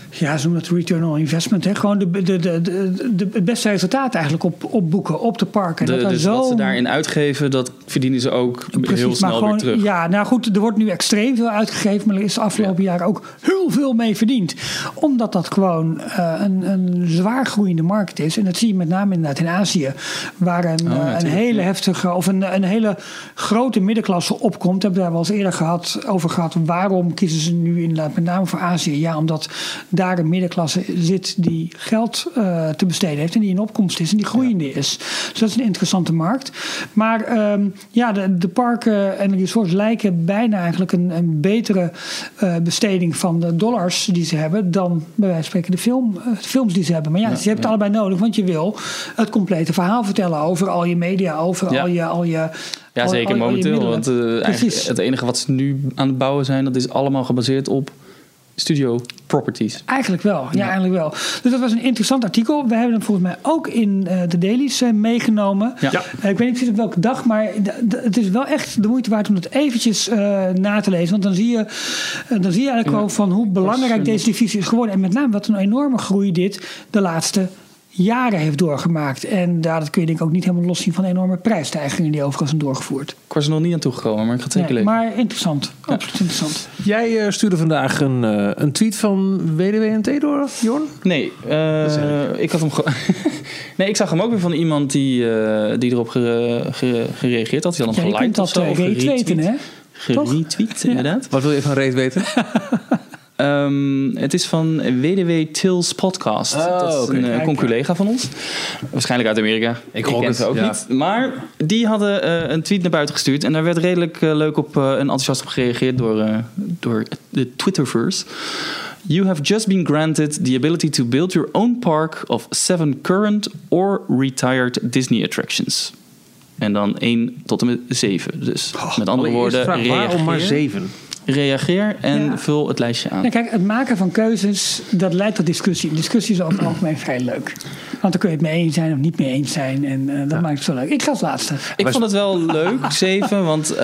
Ja, ze noemen dat return on investment. Hè? Gewoon de, de, de, de, de- het beste resultaat eigenlijk op, opboeken op de parken.
De-
dat daar
dus
zo
wat ze daarin uitgeven, dat verdienen ze ook heel snel
maar gewoon,
weer terug.
Ja, nou goed, er wordt nu extreem veel uitgegeven, maar er is de afgelopen jaren ook heel veel mee verdiend. Omdat dat gewoon eh, een, een zwaar groeiende markt is. En dat zie je met name inderdaad in Azië, waar een, eh, een
Oh, natuurlijk,
hele heftige of een, een hele grote middenklasse opkomt. Hebben we daar wel eens eerder gehad, over gehad. Waarom kiezen ze nu inderdaad met name voor Azië? Ja, omdat daar een middenklasse zit die geld eh, te besteden heeft en die in opkomst is en die groeiende is. Dus dat is een interessante markt. Maar ehm, ja, de, de parken en de resorts lijken bijna eigenlijk een, een betere eh, besteding van de dollars die ze hebben dan bij wijze van spreken de film, eh, films die ze hebben. Maar ja, ze hebben het allebei nodig, want je wil het complete verhaal vertellen over al je media, over
Ja.
al je. Al je
Ja,
al- al- al
zeker
je
momenteel.
middelen.
Want eh, eigenlijk
Precies.
het enige wat ze nu aan het bouwen zijn, dat is allemaal gebaseerd op studio properties.
Eigenlijk wel, ja, eigenlijk wel. Dus dat was een interessant artikel. We hebben hem volgens mij ook in eh, de dailies eh, meegenomen.
Ja. Ja.
Eh, ik weet niet precies op welke dag, maar d- d- het is wel echt de moeite waard om het eventjes eh, na te lezen. Want dan zie je, eh, dan zie je eigenlijk ook van hoe belangrijk deze divisie is geworden. En met name wat een enorme groei dit de laatste jaren heeft doorgemaakt. En daar dat kun je denk ik ook niet helemaal los zien van de enorme prijsstijgingen die overigens zijn doorgevoerd.
Ik was er nog niet aan toegekomen, maar ik ga het zeker
Nee,
lezen.
maar interessant, absoluut interessant.
Jij eh, stuurde vandaag een, eh, een tweet van WDWNT door, Jorn?
Nee, eh, ik had hem gewoon. (laughs) nee, ik zag hem ook weer van iemand die, eh, die erop gere- gere- gereageerd had. Die had
Ja,
hem
je kunt
geliked of
dat
zo.
uh,
of geretweet.
retweeten, hè? toch?
Geretweet, inderdaad.
Wat wil je van Reet weten?
Ehm, het is van WDW Tills Podcast.
Oh,
dat is
oké.
een eh,
Kijk.
conculega van ons. Waarschijnlijk uit Amerika.
Ik gok
ken
het,
ze ook
ja.
niet. Maar die hadden eh, een tweet naar buiten gestuurd. En daar werd redelijk eh, leuk op eh, en enthousiast op gereageerd door, eh, door de Twitterverse. You have just been granted the ability to build your own park of seven current or retired Disney attractions. En dan 1 tot en met 7. Dus met andere woorden,
Allereerst Oh, de vraag, waarom maar
reageer,
zeven?
reageer en
Ja.
vul het lijstje aan.
Nou, kijk, het maken van keuzes, dat leidt tot discussie. Discussie is over het algemeen vrij leuk. Want dan kun je het mee eens zijn of niet mee eens zijn. En eh, dat maakt het zo leuk. Ik ga als laatste.
Ik vond het wel
(laughs)
leuk, zeven, want eh,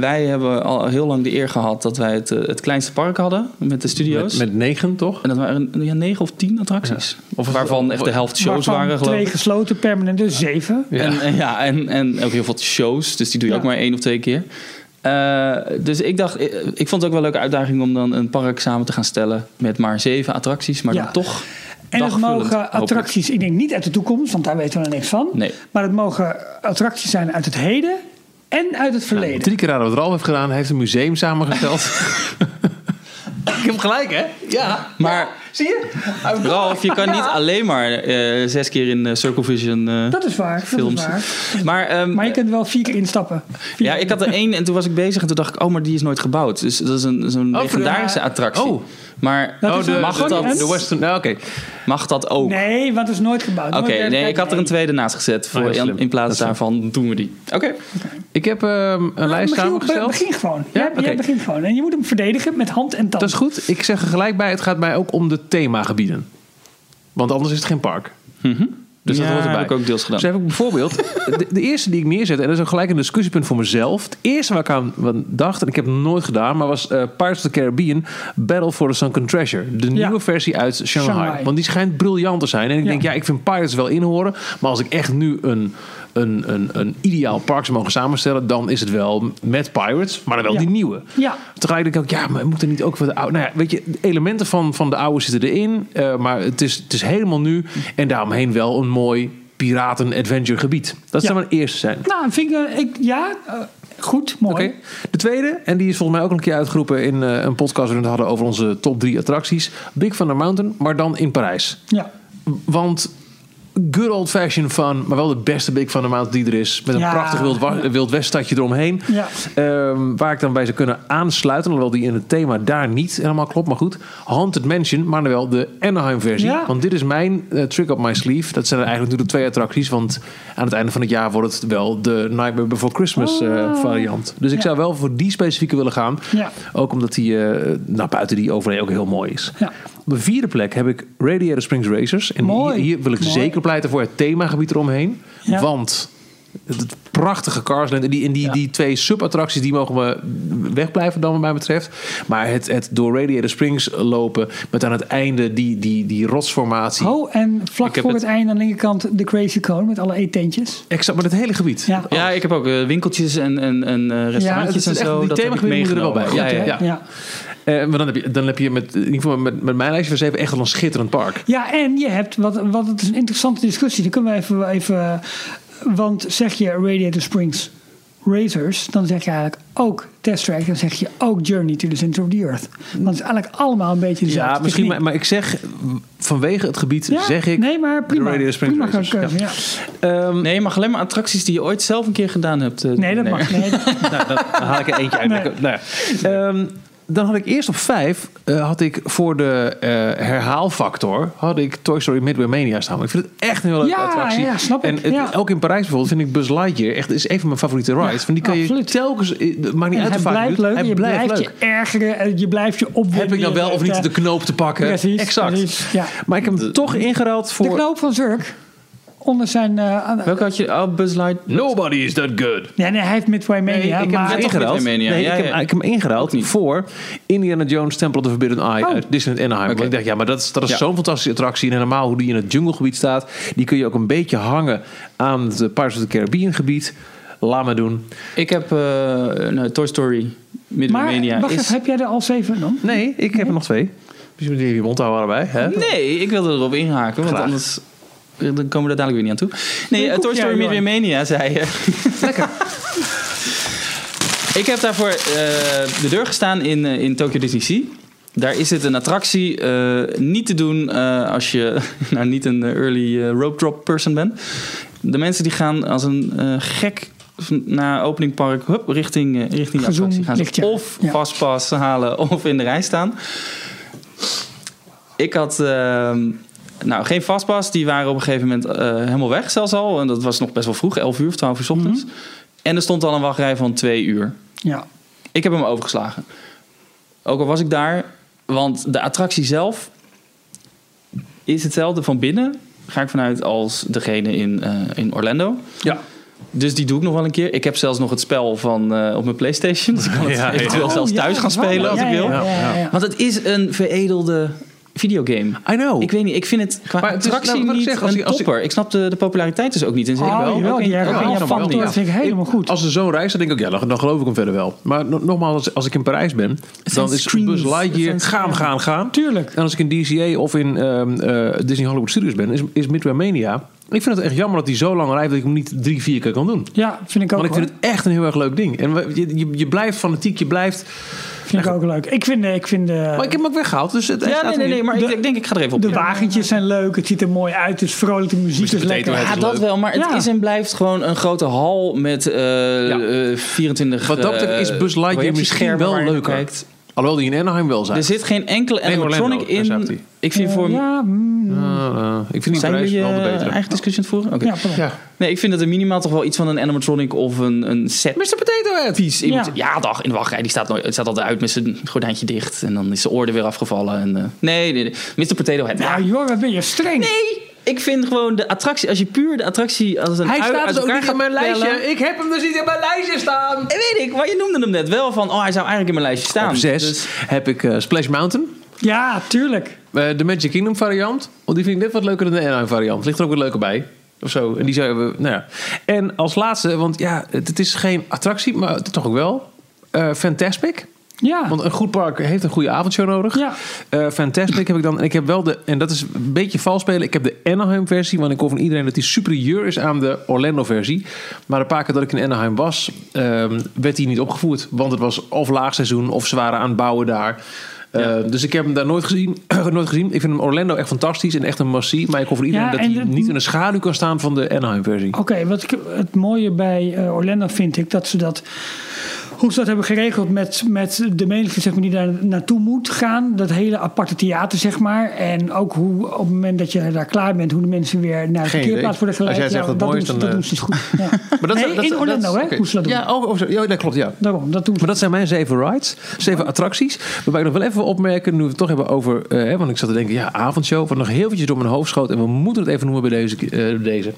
wij hebben al heel lang de eer gehad dat wij het, eh, het kleinste park hadden met de studio's.
Met, met negen, toch?
En dat waren ja, negen of tien attracties.
Of-
waarvan echt de helft shows
Waarvan
waren, geloof
twee
ik.
gesloten, permanent, dus zeven.
Ja.
En, en ja, en, en ook heel veel shows, dus die doe je
Ja.
ook maar één of twee keer. Eh, dus ik dacht, eh, ik vond het ook wel een leuke uitdaging om dan een park samen te gaan stellen met maar zeven attracties, maar
Ja.
dan toch.
En het
dagvullend,
mogen
hopelijk.
attracties, ik denk niet uit de toekomst, want daar weten we nog niks van.
Nee.
Maar het mogen attracties zijn uit het heden en uit het verleden.
Drie keer raden wat Ralf heeft gedaan. Hij heeft een museum samengesteld. ik heb gelijk, hè? Ja.
Maar
Zie je?
Oh,
Ralf, je kan niet alleen maar eh, zes keer in eh, Circle Vision eh,
dat is waar,
films.
dat is waar.
Maar, ehm,
Maar je kunt er wel vier keer instappen. Vier
Ja, ik had er één en toen was ik bezig en toen dacht ik, oh, maar die is nooit gebouwd. Dus dat is een, zo'n
Oh,
legendarische
ja.
attractie.
Oh.
Maar
Dat is
de,
een-
mag,
de,
Sorry,
dat,
en?
de Western... Nou, oké.
mag dat ook?
Nee, want het is nooit gebouwd.
Oké,
Nooit
nee,
werkelijk,
ik had er een
nee.
tweede naast gezet. Voor,
Oh, dat is
in,
slim.
in
Dat
plaats
is slim.
daarvan doen we die. Oké.
Ik heb ehm, een lijst
Michiel,
samengesteld.
be- Begin gewoon. jij, jij
Oké.
begint gewoon. En je moet hem verdedigen met hand en tand.
Dat is goed. Ik zeg er gelijk bij, het gaat mij ook om de themagebieden. Want anders is het geen park. Dus dat
Mhm. Ja,
hoort erbij.
heb ik ook deels gedaan.
Dus heb ik
(laughs)
bijvoorbeeld, de, de eerste die ik neerzet, en dat is ook gelijk een discussiepunt voor mezelf. Het eerste waar ik aan aan dacht, en ik heb het nooit gedaan, maar was eh, Pirates of the Caribbean Battle for the Sunken Treasure. De
Ja.
nieuwe versie uit Shanghai.
Shanghai.
Want die schijnt briljant te zijn. En ik
Ja.
denk, ja, ik vind Pirates wel inhoren. Maar als ik echt nu een, een, een, een ideaal park zou mogen samenstellen, dan is het wel met Pirates, maar dan wel
Ja.
die nieuwe.
Ja.
Tegelijk denk ik ook, ja, maar moet er niet ook wat oude... Nou ja, weet je, de elementen van, van de oude zitten erin. eh, maar het is, het is helemaal nu. En daaromheen wel een mooi piraten-adventure gebied. Dat zou mijn eerste zijn.
Nou, vind ik, eh, ik- ja, eh, goed, mooi.
Oké. De tweede, en die is volgens mij ook al een keer uitgeroepen... in eh, een podcast waarin we het hadden over onze top drie attracties. Big Thunder Mountain, maar dan in Parijs.
Ja.
Want good old fashioned fun, maar wel de beste big van de maand die er is. Met een
Ja.
prachtig wild, wa- wild weststadje eromheen.
Ja.
Ehm, waar ik dan bij zou kunnen aansluiten, alhoewel die in het thema daar niet helemaal klopt. Maar goed, Haunted Mansion, maar dan wel de Anaheim versie.
Ja.
Want dit is mijn eh, trick up my sleeve. Dat zijn er eigenlijk natuurlijk twee attracties, want aan het einde van het jaar wordt het wel de Nightmare Before Christmas eh,
Oh.
variant. Dus ik
Ja.
zou wel voor die specifieke willen gaan.
Ja.
Ook omdat die, eh, nou buiten die overlay ook heel mooi is.
Ja.
Op de vierde plek heb ik Radiator Springs Racers. En
Mooi.
hier, hier wil ik
Mooi.
zeker pleiten voor het themagebied eromheen.
Ja.
Want het, het prachtige Carsland en die, en die,
Ja.
die twee subattracties die mogen we wegblijven dan wat mij betreft. Maar het, het door Radiator Springs lopen met aan het einde die, die, die rotsformatie.
Oh, en vlak
Ik heb
voor het...
het-
einde aan de linkerkant de Crazy Cone met alle eetentjes.
Exact, maar het hele gebied. Oh.
Ja.
Ja, ik heb ook eh, winkeltjes en, en, en eh,
het
restaurantjes
is
en
echt-
zo.
die
dat heb ik
themagebieden moeten er wel
meegenomen.
bij.
Ja, ja,
Ja, ja.
ja.
ja.
Eh, maar dan heb je, dan heb je met, in ieder geval met, met mijn lijstje van zeven echt wel een schitterend park.
Ja, en je hebt, wat, wat het is een interessante discussie, daar kunnen we even, even. Want zeg je Radiator Springs Racers, dan zeg je eigenlijk ook Test Track, dan zeg je ook Journey to the Center of the Earth. Want het is eigenlijk allemaal een beetje dezelfde.
Ja, misschien, maar,
techniek.
maar ik zeg vanwege het gebied
Ja,
zeg ik.
Nee, maar prima.
Radiator Springs
prima
Racers,
keuze, ja.
ehm,
(laughs)
Nee, je mag alleen maar attracties die je ooit zelf een keer gedaan hebt. eh,
Nee, dat
(laughs)
mag niet.
nou, dan haal ik er eentje uit.
Nee.
Nou, ja. Ehm, dan had ik eerst op vijf, eh, had ik voor de eh, herhaalfactor, had ik Toy Story Midway Mania staan. Ik vind het echt een heel leuke
Ja,
attractie.
ja, snap ik,
En het-
ja.
ook in Parijs bijvoorbeeld vind ik Buzz Lightyear echt is een van mijn favoriete rides. Want die kan
Oh, absoluut.
je telkens, eh, het maakt niet
En
uit
hij
hoe vaak je
blijft
doet,
leuk,
hij
je
blijft
blijft
leuk.
je ergeren, en je blijft je opwinden.
Heb ik dan
je
wel of
blijft,
niet de
eh,
knoop te pakken?
Precies,
exact.
precies, ja.
Maar ik heb hem toch ingeruild
De
voor
knoop van Zurk, onder zijn... eh,
Welke had je? Oh, Buzz Light.
Nobody is that good.
nee, nee, hij heeft Midway
Nee,
Mania,
ik heb
maar...
hem
toch
ingeruild.
met Mania.
Nee,
Ja,
ik, heb,
ja.
ik heb hem ingeruild voor Indiana Jones Temple of the Forbidden Eye
Oh.
uit Disneyland Anaheim. Want ik dacht, ja, maar dat is, dat is
Ja.
zo'n fantastische attractie. En normaal hoe die in het junglegebied staat, die kun je ook een beetje hangen aan het Pirates of the Caribbean gebied. Laat maar doen.
Ik heb eh, nou, Toy Story Midway
Maar,
Mania.
wacht
is-
even, heb jij er al zeven dan?
Nee, ik heb er nog twee. Dus je moet je mond houden allebei. Hè?
Nee, ik wilde erop inhaken, want
Graag.
anders eh, dan komen we daar dadelijk weer niet aan toe. Nee,
Nee,
eh,
koek
Toy
jij,
Story Midway
Johan.
Mania, zei eh, je. Lekker. ik heb daarvoor eh, de deur gestaan in, eh, in Tokyo Disney Sea. Daar is het een attractie eh, niet te doen eh, als je (laughs) nou, niet een eh, early eh, rope drop person bent. De mensen die gaan als een eh, gek naar opening park hup, richting, eh, richting de
Gezoom,
attractie. Gaan ze
lichtjaar.
of
Ja.
vastpas halen (laughs) of in de rij staan. Ik had ehm, nou, geen vastpas. Die waren op een gegeven moment eh, helemaal weg zelfs al. En dat was nog best wel vroeg, 11 uur of 12 uur 's ochtends. En er stond al een wachtrij van 2 uur.
Ja.
Ik heb hem overgeslagen. Ook al was ik daar, want de attractie zelf is hetzelfde van binnen. Ga ik vanuit als degene in, eh, in Orlando.
Ja.
Dus die doe ik nog wel een keer. Ik heb zelfs nog het spel van, eh, op mijn PlayStation. Dus ik kan het
(laughs) Ja, ja.
eventueel zelfs
Oh, ja,
thuis gaan
dat is waar.
spelen als
Ja,
ik
ja,
wil.
ja, ja, ja.
Want het is een veredelde videogame.
I know.
Ik weet niet, ik vind het qua
Oh. Maar het is-
attractie
nou, wat ik
niet
zeg, als
een
ik- als ik-
topper. Ik snap de, de populariteit dus ook niet. En zeker
Oh,
wel,
jawel,
ook in,
die
ook in
herhaal-
Japan
factor
niet.
dat vind ik helemaal goed.
Als er zo'n reis dan denk ik, ook, ja, dan, dan geloof ik hem verder wel. Maar no- nogmaals, als, als ik in Parijs ben,
zijn
dan is
screens.
Buzz
Het zijn
Lightyear, gaan, gaan, gaan.
Tuurlijk.
En als ik in DCA of in ehm, eh, Disney Hollywood Studios ben, is, is Midway Mania. Ik vind het echt jammer dat die zo lang rijdt dat ik hem niet drie, vier keer kan doen.
Ja, vind ik ook,
Want ik vind het echt een heel erg leuk ding. En we- je, je, je blijft fanatiek, je blijft...
hoor. vind ik ook leuk. Ik vind, eh, ik vind eh,
Maar ik heb hem ook weggehaald, dus het hij
Ja,
staat
nee,
er
nee, nee,
niet.
maar
De-
ik, ik denk ik ga er even op.
de
in.
wagentjes zijn leuk, het ziet er mooi uit, het is vrolijke muziek,
Mr.
is
Potato
lekker.
Head.
Ja,
is
dat
leuk.
wel, maar het
Ja.
is en blijft gewoon een grote hal met eh,
Ja.
eh, 24...
Wat dat betreft is
eh,
Buzz Lightyear
projectieschermen
misschien
waar
wel
je naar
leuker.
kijkt.
Alhoewel die in Anaheim wel zijn.
Er zit geen enkele
Nee, Orlando,
animatronic
daar zat
in.
hij.
Ik vind voor...
Ja, mm,
Ah, ah, ik vind die in
Zijn
Parijs
jullie
wel de
eh,
betere.
eigen discussie aan het voeren? Oké.
ja, pardon.
Ja.
Nee, ik vind dat er minimaal toch wel iets van een animatronic of een, een set...
Mr. Potato Head!
Vies in
Ja.
moet- ja. dag, in de wachtrij. Die staat, nooit, het staat altijd uit met zijn gordijntje dicht. En dan is zijn oor er weer afgevallen. En, eh, nee, nee, nee. Mr. Potato Head.
Nou, joh, wat ben je streng.
Nee, ik vind gewoon de attractie... Als je puur de attractie als een
Hij
ui
staat
uit
dus ook
elkaar
niet in
gaat
mijn lijstje.
pellen-
Ik heb hem dus niet in mijn lijstje staan.
Eh, Weet ik, maar je noemde hem net wel van... Oh, hij zou eigenlijk in mijn lijstje staan.
Op zes
Dus-
heb ik eh, Splash Mountain.
Ja, tuurlijk.
Eh, de Magic Kingdom variant. Want die vind ik net wat leuker dan de Anaheim variant. Ligt er ook wat leuker bij. Of zo. En die zouden we... Nou ja. En als laatste, want ja, het, het is geen attractie, maar het- toch ook wel. eh, Fantastic.
Ja,
Want een goed park heeft een goede avondshow nodig.
Ah. Ja.
Eh, Fantastic heb ik dan. En ik heb wel de... En dat is een beetje vals spelen. Ik heb de Anaheim versie. Want ik hoor van iedereen dat die superieur is aan de Orlando versie. Maar een paar keer dat ik in Anaheim was... ehm, werd die niet opgevoerd. Want het was of laagseizoen of ze waren aan het bouwen daar.
Ja.
Eh, dus ik heb hem daar nooit gezien, (clears throat) nooit gezien. Ik vind hem Orlando echt fantastisch en echt een massie. Maar ik hoor van iedereen
Ja,
dat
en Oh,
hij
het-
niet in de schaduw kan staan van de Anaheim-versie.
Oké, wat ik, het mooie bij eh, Orlando vind ik dat ze dat. Hoe ze dat hebben geregeld met, met de menigte zeg maar, die daar naartoe moet gaan. Dat hele aparte theater, zeg maar. En ook hoe op het moment dat je daar klaar bent, hoe de mensen weer naar de
Geen
parkeerplaats
idee.
worden
Als
geleid.
jij zegt dat het mooi
doen
is,
ze,
dan,
dat
eh,
doen ze dus goed. Ja.
(laughs) Maar dat-
nee,
dat-
in
dat-
Orlando,
dat-
hè?
oké.
Hoe ze dat doen.
Ja, oh, oh, zo. ja, dat klopt, ja.
Daarom, dat doen ze.
Maar dat zijn mijn zeven rides, zeven attracties. Waarbij ik nog wel even wil opmerken, nu we het toch hebben over... eh, hè, want ik zat te denken, ja, avondshow. Wat nog heel eventjes door mijn hoofd schoot. En we moeten het even noemen bij deze. eh, deze.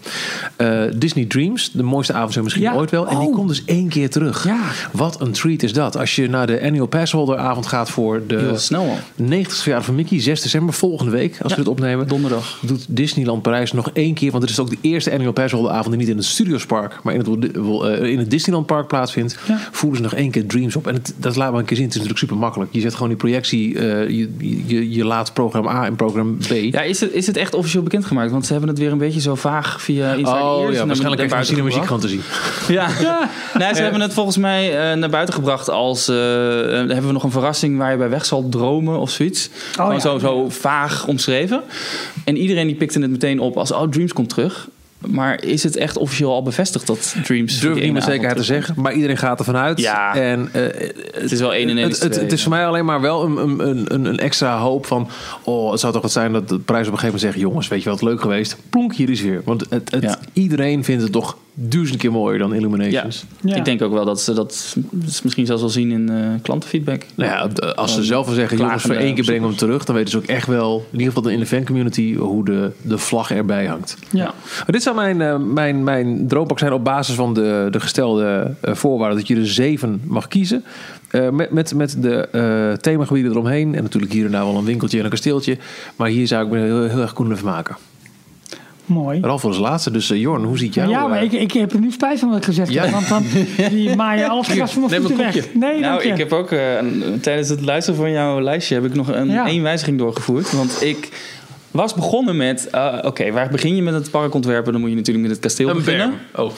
Eh, Disney Dreams, de mooiste avondshow misschien
Ja.
ooit wel. En die
Oh.
komt dus één keer terug.
Ja.
Wat een treat is dat. Als je naar de annual passholder avond gaat voor de...
Heel snel al.
90ste verjaardag van Mickey, 6 december, volgende week als we dit opnemen.
donderdag.
Doet Disneyland Parijs nog één keer, want het is ook de eerste annual Parijsholder avond die niet in het Studiospark, maar in het, eh, in het Disneyland Park plaatsvindt.
Ja.
Voeren ze nog één keer Dreams op. En het- dat laat maar een keer zien. Het is natuurlijk super makkelijk. Je zet gewoon die projectie, eh, je, je, je laat programma A en programma B. Oh,
Ja, is het, is het echt officieel bekendgemaakt? Want ze hebben het weer een beetje zo vaag via Inside
Oh
Ears
ja,
naar
waarschijnlijk krijg je
buiten
misschien een muziek
gebracht.
gewoon te
(laughs)
zien.
Ja.
(laughs)
Nee, ze hebben het volgens mij eh, naar buiten gebracht als... eh, eh, hebben we nog een verrassing waar je bij weg zal dromen of zoiets.
Oh,
Gewoon
ja.
zo, zo vaag omschreven. En iedereen die pikte het meteen op als... Oh, Dreams komt terug. Maar is het echt officieel al bevestigd dat Dreams...
Durf ik
die
niet
ene
met zekerheid te
avond terug-
zeggen, maar iedereen gaat ervan uit.
Ja.
En eh,
Het is wel één en één
het,
is
het,
twee,
het is
ja.
voor mij alleen maar wel een, een- een, een, een extra hoop van... oh, het zou toch wat zijn dat de prijs op een gegeven moment zegt... jongens, weet je wat leuk geweest? Plonk, hier is weer. Want het, het,
Ja.
iedereen vindt het toch duizend keer mooier dan
Ja.
Illuminations.
Ja.
ik denk ook wel dat ze dat misschien zelfs wel zien in eh, klantenfeedback.
Nou ja, als ze zelf al zeggen, jongens, voor
klagende
één keer brengen we hem terug... dan weten ze ook echt wel, in ieder geval in de fancommunity... hoe de, de vlag erbij hangt.
Ja.
Maar dit zou mijn, eh, mijn, mijn droompak zijn op basis van de, de gestelde eh, voorwaarden. Dat je er zeven mag kiezen. Eh, met, met, met de eh, themagebieden eromheen. En natuurlijk hier en daar wel een winkeltje en een kasteeltje. Maar hier zou ik me heel, heel erg koen van maken.
Mooi.
Ralf was de laatste. Dus eh, Jorn, hoe ziet jou?
ja, maar
eh,
ik, ik heb er nu spijt van wat ik gezegd
Ja.
heb.
(laughs)
Want dan die maaien alles gras van mijn
Neem een
voeten weg.
kopje.
Nee, dank
Nou,
je.
ik heb ook eh, een- tijdens het luisteren van jouw lijstje heb ik nog een
Ja.
één wijziging doorgevoerd. Want ik was begonnen met, eh, oké, waar begin je met het park ontwerpen? Dan moet je natuurlijk met het kasteel
een
beginnen.
berm. Oh.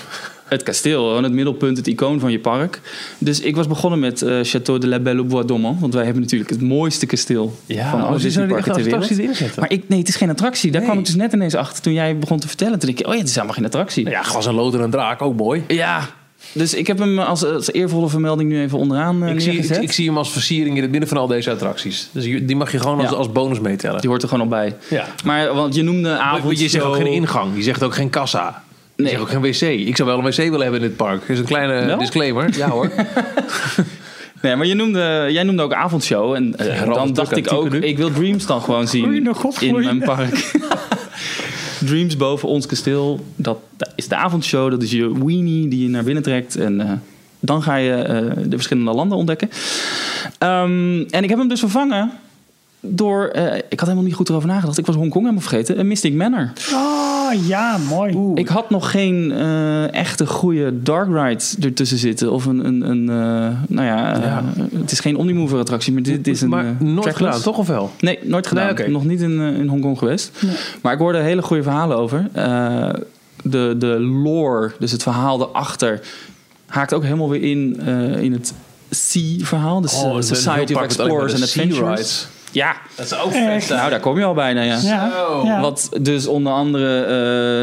Het kasteel, gewoon het middelpunt, het icoon van je park. Dus ik was begonnen met eh, Château de la Belle au Bois Dormant. Want wij hebben natuurlijk het mooiste kasteel
Ja,
van
oh,
alle
ze zouden die
Disneyparken ter
echt
wereld.
attracties erin zetten.
Maar ik, nee, het is geen attractie. Daar kwam ik dus net ineens achter toen jij begon te vertellen. Toen dacht ik, oh ja, het is helemaal geen attractie.
Ja, glas en lood en een draak, ook mooi.
Ja, dus ik heb hem als, als eervolle vermelding nu even onderaan eh,
Ik zie, ik,
neergezet.
ik zie hem als versiering in het midden van al deze attracties. Dus je- die mag je gewoon als,
Ja.
als bonus meetellen.
Die hoort er gewoon al bij.
Ja.
Maar want je noemde
Maar
avond.
je zegt ook geen ingang, je zegt ook geen kassa. Je
Nee.
zegt ook geen wc. Ik zou wel een wc willen hebben in dit park. Dat is een kleine
Wel?
disclaimer. Nou? (laughs) Ja hoor.
Nee, maar je noemde, jij noemde ook avondshow. En eh,
Ralf
dan
druk aan
dacht
het
ik
typen
ook,
nu.
ik wil Dreams dan gewoon zien
Goeie god,
in
goeie.
mijn park. Dreams boven ons kasteel, dat, dat is de avondshow. Dat is je weenie die je naar binnen trekt. En eh, dan ga je eh, de verschillende landen ontdekken. Ehm, en ik heb hem dus vervangen door, eh, ik had helemaal niet goed erover nagedacht. Ik was Hongkong helemaal vergeten. Een Mystic Manor.
Oh, ja, mooi.
Ik had nog geen eh, echte goede dark ride ertussen zitten. Of een, een, een eh, nou ja, eh,
Ja.
het is geen Omnimover attractie, maar dit is een
maar
eh, Oh,
nooit
trackless.
gedaan, toch of wel?
Nee, nooit gedaan.
Nee, oké.
Nog niet in, eh, in Hongkong geweest. Maar ik hoorde hele goede verhalen over. Eh, de, de lore, dus het verhaal erachter, haakt ook helemaal weer in, eh, in het Sea-verhaal. De
Oh, het is een heel
Society of
park met alleen maar
Explorers
de
and
sea-rides.
Adventurers. Ja,
Dat is ook
vet. Echt?
nou daar kom je al bijna, ja.
Ja,
Zo.
ja.
Wat dus onder andere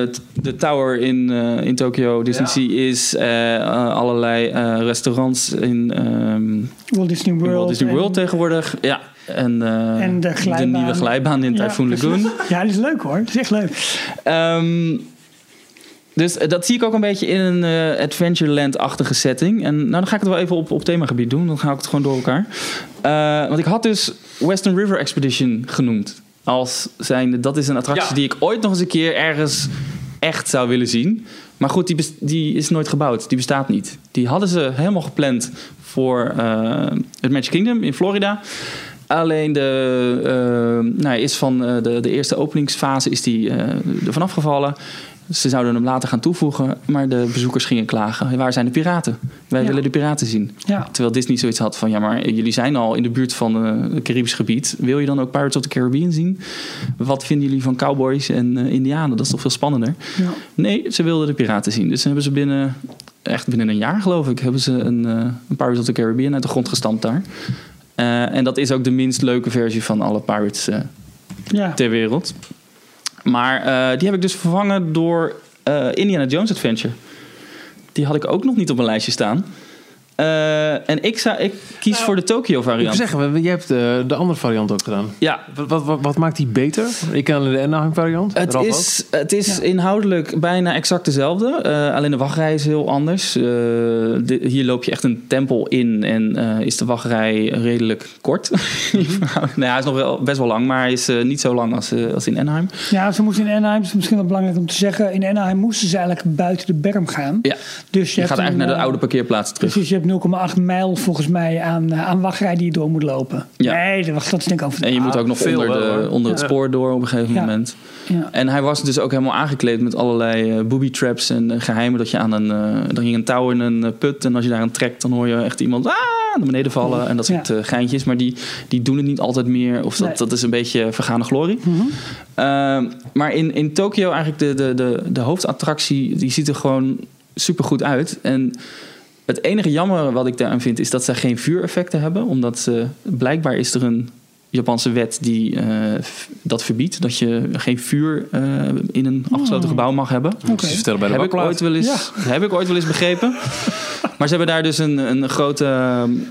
eh, t- de tower in, eh in Tokyo Disney
Ja.
Sea is. eh, eh, allerlei eh, restaurants in, ehm, in
Walt Disney World.
Walt Disney
en-
World tegenwoordig. Ja. En, eh,
En de glijbaan.
nieuwe glijbaan in
Ja,
Typhoon
precies.
Lagoon.
Ja, dat is leuk hoor. Dat is echt leuk.
Ehm, dus eh, dat zie ik ook een beetje in een eh, Adventureland-achtige setting. En nou, dan ga ik het wel even op, op themagebied doen. Dan ga ik het gewoon door elkaar. Eh, want ik had dus Western River Expedition genoemd. Als zijnde, dat is een attractie
Ja.
die ik ooit nog eens een keer ergens echt zou willen zien. Maar goed, die, bes- die is nooit gebouwd. Die bestaat niet. Die hadden ze helemaal gepland voor eh, het Magic Kingdom in Florida. Alleen de, eh, nou, is van eh, de, de eerste openingsfase is die eh er vanaf gevallen. Ze zouden hem later gaan toevoegen, maar de bezoekers gingen klagen. Waar zijn de piraten? Wij
Ja.
willen de piraten zien.
Ja.
Terwijl Disney zoiets had van, ja maar jullie zijn al in de buurt van eh, het Caribisch gebied. Wil je dan ook Pirates of the Caribbean zien? Wat vinden jullie van cowboys en eh, indianen? Dat is toch veel spannender?
Ja.
Nee, ze wilden de piraten zien. Dus hebben ze binnen, echt binnen een jaar geloof ik, hebben ze een, eh, een Pirates of the Caribbean uit de grond gestampt daar. Eh, en dat is ook de minst leuke versie van alle Pirates eh,
Ja.
ter wereld. Maar eh, die heb ik dus vervangen door eh, Indiana Jones Adventure. Die had ik ook nog niet op mijn lijstje staan. Eh, en ik, zou, ik kies voor de Tokyo
Nou, Ik moet
variant.
zeggen, we- je hebt eh, de andere variant ook gedaan.
Ja,
Wat, wat, wat, wat maakt die beter? Ik ken de Anaheim variant.
Het
Ralf ook.
is, het is
Ja.
inhoudelijk bijna exact dezelfde. Eh, alleen de wachtrij is heel anders. Eh, di- hier loop je echt een tempel in en eh, is de wachtrij redelijk kort. (laughs) In verhouding- nou, hij is nog wel, best wel lang, maar hij is eh, niet zo lang als, eh, als in Anaheim.
Ja, ze moesten in Anaheim, dat is misschien wel belangrijk om te zeggen, in Anaheim moesten ze eigenlijk buiten de berm gaan.
Ja,
Dus je,
je
hebt
gaat
een,
eigenlijk naar de
eh,
oude parkeerplaats terug.
Precies, je hebt 0,8 mijl volgens mij aan, eh, aan wachtrij die je door moet lopen.
Ja.
Nee, dat, dat is denk ik over.
En je moet ook nog
Ah, veel wel,
onder, de,
hoor.
onder het
Ja.
spoor door op een gegeven
Ja.
moment.
ja.
En hij was dus ook helemaal aangekleed met allerlei eh, booby traps en eh, geheimen. Dat je aan een, eh dan ging een touw in een eh, put en als je daar aan trekt, dan hoor je echt iemand ah, naar beneden vallen en dat soort
Ja.
eh, geintjes. Maar die, die doen het niet altijd meer. Of dat,
Nee. Mhm.
dat is een beetje vergane glorie. Ehm, maar in, in Tokio eigenlijk de, de, de, de hoofdattractie, die ziet er gewoon supergoed uit. En het enige jammer wat ik daaraan vind is dat zij geen vuureffecten hebben. Omdat eh, blijkbaar is er een Japanse wet die eh, f- dat verbiedt. Dat je geen vuur eh, in een
Oh.
afgesloten gebouw mag hebben.
Ze vertellen bij de
Heb ik,
bakplaat.
ooit wel eens, heb ik ooit wel eens
(laughs)
begrepen. maar ze hebben daar dus een, een grote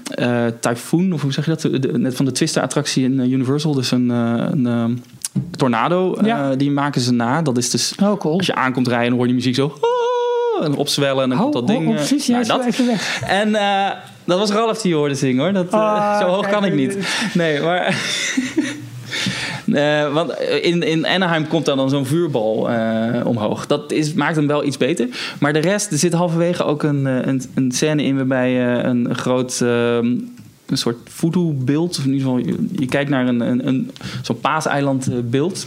eh tyfoon, of hoe zeg je dat? De- de- net van de Twister-attractie in eh, Universal. Dus een, eh, een eh, tornado. eh,
Ja.
die maken ze na. Dat is dus
Oh, cool.
als je aankomt rijden, dan hoor je die muziek zo. "Ah", En opzwellen en dan
Hou
komt dat ding. eh,
Oh, precies, jij
nou,
is wel
dat.
even weg.
En eh, dat was Ralf die je hoorde zingen hoor. Dat, eh,
Ah,
(laughs) zo hoog kan ik
kijk,
niet. Nee, maar. (laughs) Eh, want in, in Anaheim komt dan, dan zo'n vuurbal eh, omhoog. Dat is, maakt hem wel iets beter. Maar de rest, er zit halverwege ook een, eh, een, een scène in waarbij eh, een groot. ehm, een soort voodoo-beeld. Of in ieder geval, je, je kijkt naar een, een, een, zo'n paaseiland-beeld.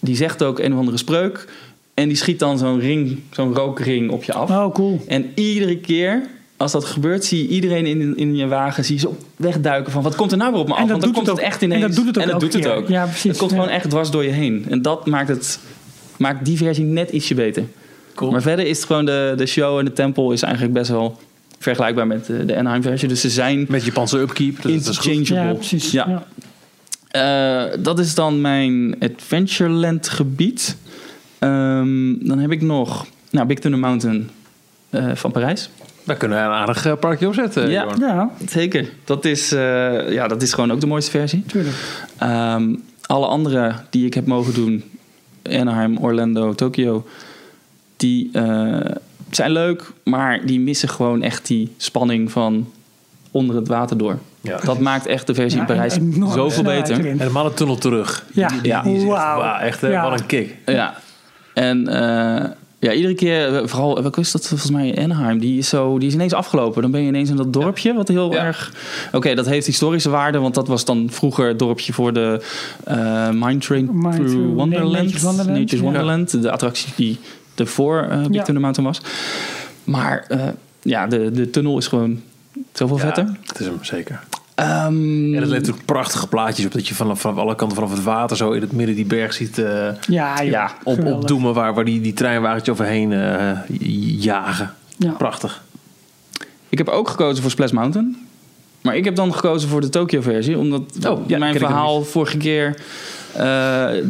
Die zegt ook een of andere spreuk. En die schiet dan zo'n ring, zo'n rookring op je af.
Oh, cool.
En iedere keer als dat gebeurt, zie je iedereen in, in je wagen zie je zo wegduiken van wat komt er nou weer op me af?
En dat
Want
doet
dan komt
het
het,
ook.
echt ineens.
En dat doet het ook
En dat
elke
doet het
keer.
ook.
Ja, precies.
Het komt
Ja.
gewoon echt dwars door je heen. En dat maakt, het, maakt die versie net ietsje beter.
Cool.
Maar verder is het gewoon de, de show en de tempel is eigenlijk best wel vergelijkbaar met de, de Anaheim versie. Dus ze zijn
Met Japanse upkeep. Dus dat is goed.
interchangeable.
Ja, precies.
Ja.
Ja.
Eh, dat is dan mijn Adventureland gebied. Ehm, dan heb ik nog nou, Big Thunder Mountain eh, van Parijs.
Daar kunnen we een aardig eh, parkje op zetten.
Ja.
Jorn.
ja,
Zeker. Dat is, eh, ja, dat is gewoon ook de mooiste versie.
tuurlijk.
Ehm, alle andere die ik heb mogen doen, Anaheim, Orlando, Tokio, die eh, zijn leuk, maar die missen gewoon echt die spanning van onder het water door.
Ja.
Dat maakt echt de versie
Ja,
in Parijs
en- en
zoveel
snelheid
beter.
erin.
En de mannentunnel terug.
Ja,
Die, die, die is echt,
Wauw.
wauw, echt eh,
Ja.
wat een kick.
Ja. En eh, ja, iedere keer, eh, vooral, eh, welke is dat volgens mij? Anaheim, die is, zo, die is ineens afgelopen. Dan ben je ineens in dat dorpje, wat heel
Ja.
erg... Oké, dat heeft historische waarde, want dat was dan vroeger het dorpje voor de eh Mine Train
Mine
Through
Through
Wonderland.
Nature's Wonderland,
Nature's
ja.
Wonderland, de attractie die ervoor eh Big
Ja.
Thunder Mountain was. Maar eh, ja, de, de tunnel is gewoon zoveel vetter.
Ja, dat is hem zeker. En
Ehm,
het levert ook prachtige plaatjes op. Dat je vanaf, vanaf alle kanten vanaf het water zo in het midden die berg ziet eh,
Ja, joh.
Ja,
op,
Geweldig.
opdoemen. Waar, waar die, die treinwagentje overheen eh, jagen.
Ja.
Prachtig.
Ik heb ook gekozen voor Splash Mountain. Maar ik heb dan gekozen voor de Tokyo-versie. Omdat
Oh, ja, ken ik
mijn
hem
verhaal vorige keer... eh,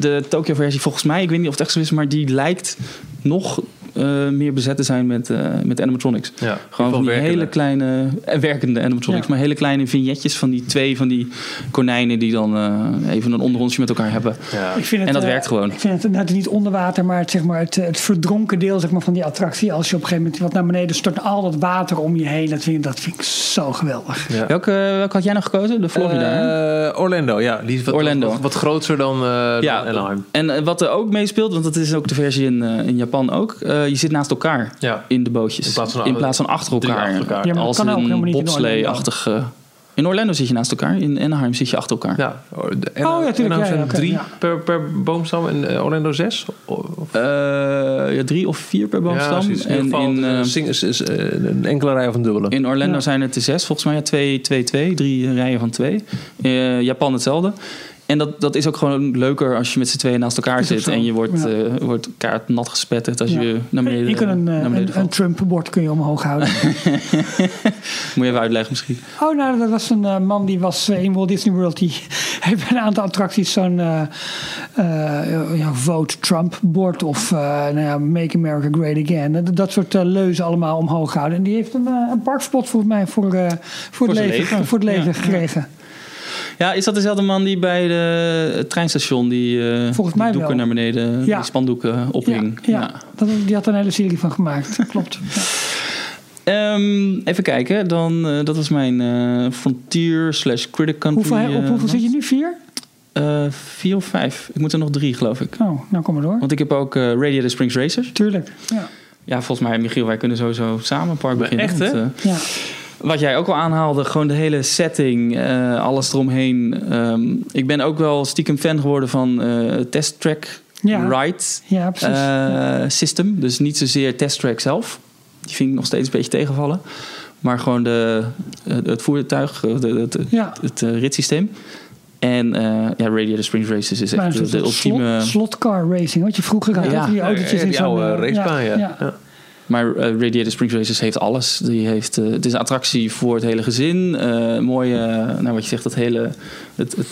de Tokyo-versie volgens mij, ik weet niet of het echt zo is... maar die lijkt nog eh, meer bezet te zijn met, eh, met animatronics.
Ja,
Gewoon van die
werkende.
hele kleine... eh, werkende animatronics,
Ja.
maar hele kleine vignetjes... van die twee van die konijnen die dan eh, even een onderrondje met elkaar hebben.
Ja.
Ik vind het,
En dat
eh,
werkt gewoon.
Ik vind het inderdaad niet onder water, maar het, zeg maar, het, eh, het verdronken deel zeg maar, van die attractie. Als je op een gegeven moment wat naar beneden stort, al dat water om je heen. Dat vind ik, dat vind ik zo geweldig.
Ja.
Welke, welke had jij nou gekozen? De Florida, hè?
Eh, Orlando, ja. Die is wat,
Orlando.
wat, wat groter dan, eh
Ja,
dan Anaheim.
en eh, wat er ook meespeelt, want dat is ook de versie in, eh, in Japan ook. eh, je zit naast elkaar
Ja.
in de bootjes.
In plaats van-
achter
drie
elkaar.
achter elkaar. Ja,
maar dat
als
kan ook helemaal
een
niet in
bobslee-achtig... eh, in Orlando zit je naast elkaar. In Anaheim zit je achter elkaar.
Ja, de- en,
Oh, ja, tuurlijk,
en dan
ja,
zijn
ja, oké,
drie
ja.
per, per boomstam en eh, Orlando zes? Of,
Eh, ja, drie of vier per
Ja,
boomstam.
zoiets. in
en
ieder geval
in, eh,
een sing- is- is, eh, een enkele rij of een dubbele.
in Orlando
Ja.
zijn het er zes. Volgens mij ja, twee, twee, twee. Drie rijen van twee. Eh, Japan hetzelfde. En dat, dat is ook gewoon leuker als je met z'n tweeën naast elkaar
Is ook
zit.
zo,
En je wordt,
ja.
eh, wordt kaart nat gespetterd als
Ja.
je naar beneden,
je kunt een, eh,
naar beneden
een, een
valt.
Trump-bord kun je omhoog houden.
Moet je even uitleggen misschien.
Oh, nou, dat was een eh, man die was eh, in Walt Disney World. Die (laughs) heeft bij een aantal attracties zo'n eh, eh, ja, Vote Trump-bord of eh, nou ja, Make America Great Again. Dat, dat soort eh, leuzen allemaal omhoog houden. En die heeft een, eh, een parkspot volgens mij voor, eh, voor, het,
zijn
leven,
leven.
Voor het leven
Ja,
gekregen.
Ja, is dat dezelfde man die bij de, het treinstation die, eh,
Volgens
die
mij
doeken
wel.
naar beneden,
Ja.
die spandoeken eh,
Ja,
ophing?
ja. Dat, die had er een hele serie van
(laughs)
gemaakt. Klopt. Ja.
Ehm, even kijken, dan, eh, dat was mijn eh, Frontier slash Critic Country.
Hoeveel, op
eh,
hoeveel zit je nu? Vier?
eh, vier of vijf. Ik moet er nog drie, geloof ik.
Oh, nou kom maar door.
Want ik heb ook eh Radiator Springs Racers.
Tuurlijk. Ja.
Ja, volgens mij, Michiel, wij kunnen sowieso samen een park beginnen.
echt,
want,
hè?
eh,
ja.
Wat jij ook al aanhaalde, gewoon de hele setting, eh, alles eromheen. Ehm, ik ben ook wel stiekem fan geworden van eh Test Track
Ja.
Ride
ja, precies.
eh, System. Dus niet zozeer Test Track zelf. Die vind ik nog steeds een beetje tegenvallen. Maar gewoon de, eh, het voertuig, eh, de- het, het,
ja.
het, eh, ritssysteem. En eh ja, Radiator Springs Races is
Maar
echt
een
de,
soort
de ultieme...
slot- slotcar racing, wat je vroeger had.
Ja.
hè, die autootjes in
die
zo'n...
oude
eh,
racebaan, ja.
ja.
Ja.
Maar eh, Radiator Springs Races heeft alles. Die heeft, eh, het is een attractie voor het hele gezin. Eh mooie, eh, nou wat je zegt, dat hele... Het, het,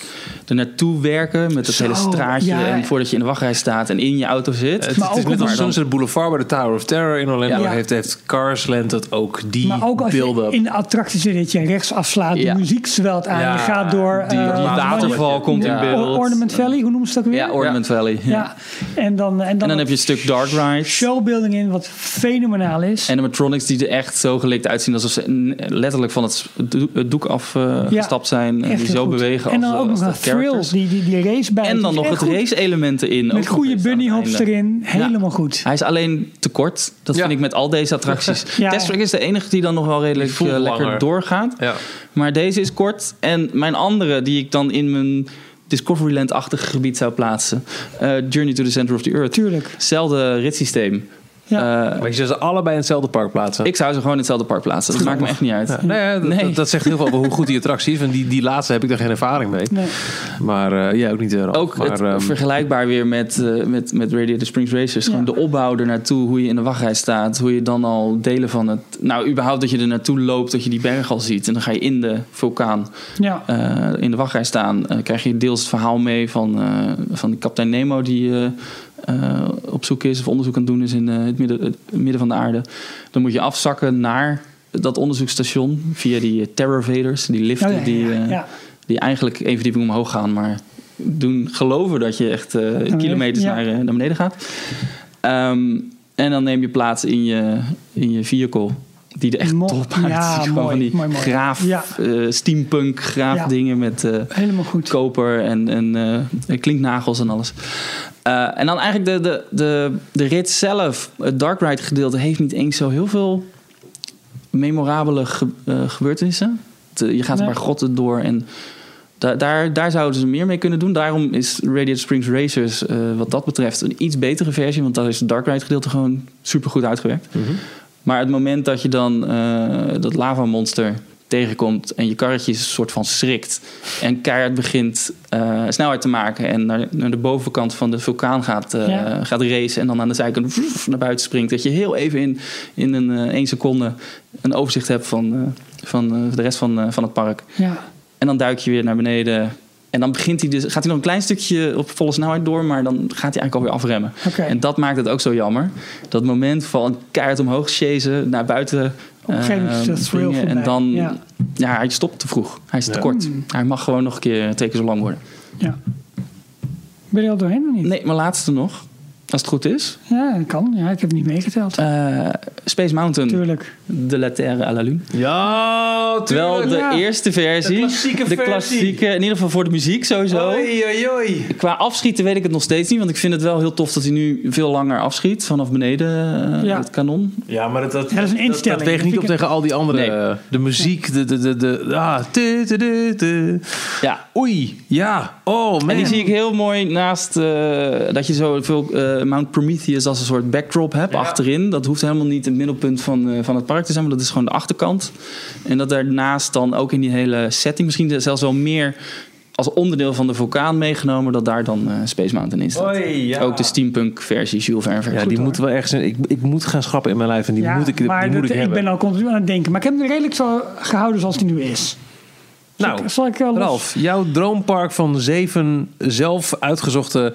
er naartoe werken met het
Zo,
hele straatje.
ja.
En voordat je in de wachtrij staat en in je auto zit.
Het, het is
ook
net
maar
als
dan-
Sunset Boulevard bij de Tower of Terror in Orlando.
Ja.
Heeft, heeft Carsland dat ook, die
Maar ook als je
build-up.
in de attractie zit, dat je rechts afslaat,
Ja.
de muziek zwelt aan,
Ja,
je gaat door...
die,
eh,
die
maar-
waterval komt
Ja.
in beeld.
Or- Ornament Valley, hoe noemen ze dat weer?
ja, Ornament Valley. Ja.
Ja. En dan, en
En
dan,
dan heb je een stuk Dark Ride.
showbuilding in, wat fenomenaal is.
Animatronics die er echt zo gelikt uitzien alsof ze n- letterlijk van het s- do- het doek afgestapt
Ja.
gestapt zijn. En
Echt
die
heel
zo
goed.
bewegen
En dan
als, de-
ook nog
als de
een thrills,
characters.
die, die, die race bij.
En dan nog het race element in. ook
Met
nog
goede
eens aan het
bunnyhops
einde.
erin, helemaal goed.
Hij is alleen tekort. Dat
Ja.
vind ik met al
(laughs)
deze attracties.
Ja.
Test Track is de enige die dan nog wel redelijk
Die voelt
eh, lekker
langer.
doorgaat.
Ja.
Maar deze is kort. En mijn andere die ik dan in mijn Discoveryland-achtig gebied zou plaatsen. eh, Journey to the Center of the Earth.
Tuurlijk.
Hetzelfde ritssysteem.
Ja.
Eh,
Maar je zou ze allebei in hetzelfde park plaatsen.
ik zou ze gewoon in hetzelfde park plaatsen. Dat maakt me echt niet uit.
Ja. Nou ja, dat,
Nee.
dat- dat zegt heel veel over hoe goed die attractie is. Want die, die laatste heb ik daar geen ervaring mee.
Nee.
Maar eh, jij ook niet, eh, Ralf.
Ook
maar,
het,
ehm,
vergelijkbaar weer met, eh met, met Radiator Springs Racers. Gewoon
Ja.
de opbouw er naartoe, hoe je in de wachtrij staat, hoe je dan al delen van het. Nou, überhaupt dat je er naartoe loopt, dat je die berg al ziet. En dan ga je in de vulkaan,
Ja.
eh, in de wachtrij staan. Eh, krijg je deels het verhaal mee van, eh van die kapitein Nemo die eh, eh, op zoek is of onderzoek aan het doen is in eh, het, midden, het midden van de aarde. Dan moet je afzakken naar dat onderzoeksstation via die terrorvaders, die liften
Oh, ja,
die.
ja, ja,
eh,
ja.
die eigenlijk één verdieping omhoog gaan, maar doen geloven dat je echt eh, kilometers
ja.
naar, eh, naar beneden gaat. Ehm, en dan neem je plaats in je, in je vehicle. Die er echt
Mo-
top uitziet.
ja,
Gewoon
mooi,
van die
mooi, mooi.
graaf,
Ja.
eh, steampunk graaf
Ja.
dingen met eh,
Helemaal goed.
koper en, en eh, klinknagels en alles. Eh, en dan eigenlijk de, de, de, de rit zelf, het dark ride gedeelte, heeft niet eens zo heel veel memorabele ge- eh, gebeurtenissen. Het, eh, je gaat
Nee.
een paar grotten door en da- daar, daar zouden ze meer mee kunnen doen. Daarom is Radiant Springs Racers eh, wat dat betreft een iets betere versie, want daar is het dark ride gedeelte gewoon super goed uitgewerkt. Maar het moment dat je dan eh, dat lavamonster tegenkomt en je karretje is een soort van schrikt en keihard begint eh, snelheid te maken en naar, naar de bovenkant van de vulkaan gaat, eh,
Ja.
gaat racen en dan aan de zijkant vroef naar buiten springt, dat je heel even in, in een eh, één seconde een overzicht hebt van, eh, van eh, de rest van, eh, van het park.
Ja.
En dan duik je weer naar beneden. En dan begint hij dus, gaat hij nog een klein stukje op volle snelheid door, maar dan gaat hij eigenlijk alweer afremmen.
Oké.
En dat maakt het ook zo jammer. Dat moment van keihard omhoog chasen, naar buiten.
Op een gegeven moment is
eh,
dat thrill
springen. En
voorbij.
dan,
Ja. Hmm.
ja. hij stopt te vroeg. Hij is te
Ja.
kort. Hij mag gewoon nog een keer twee keer zo lang worden.
Ja. Ben je er al doorheen of niet?
Nee, mijn laatste nog. Als het goed is.
Ja, dat kan. Ja, ik heb niet meegeteld.
Eh, Space Mountain,
Tuurlijk. Oh,
de La Terre à la Lune.
Ja,
Terwijl de
ja.
eerste versie.
De klassieke
de
versie.
klassieke, in ieder geval voor de muziek sowieso.
Oei, oei, oei.
Qua afschieten weet ik het nog steeds niet. Want ik vind het wel heel tof dat hij nu veel langer afschiet. Vanaf beneden eh,
Ja.
het kanon.
Ja, maar dat, dat,
Ja, dat is een instelling.
dat, weegt niet op tegen al die andere.
Nee.
eh, de muziek, de... de, de, de ah, tu, tu, tu, tu.
Ja.
Oei, ja. Oh, man.
En die zie ik heel mooi naast eh, dat je zo veel eh, Mount Prometheus als een soort backdrop hebt achterin. Dat hoeft helemaal niet het middelpunt van, eh, van het park te zijn, maar dat is gewoon de achterkant. En dat daarnaast dan ook in die hele setting misschien zelfs wel meer als onderdeel van de vulkaan meegenomen dat daar dan eh, Space Mountain in staat.
Hoi, ja.
Ook de steampunk versie Jules Verne versie.
Ja, die moet wel ergens. Ik, ik moet gaan schrappen in mijn lijf en die moet ik, die
maar
moet
dat-
ik hebben.
ben al continu aan het denken. Maar ik heb hem redelijk zo gehouden zoals hij nu is.
nou,
Zal ik eh, los-
Ralf, jouw droompark van zeven zelf uitgezochte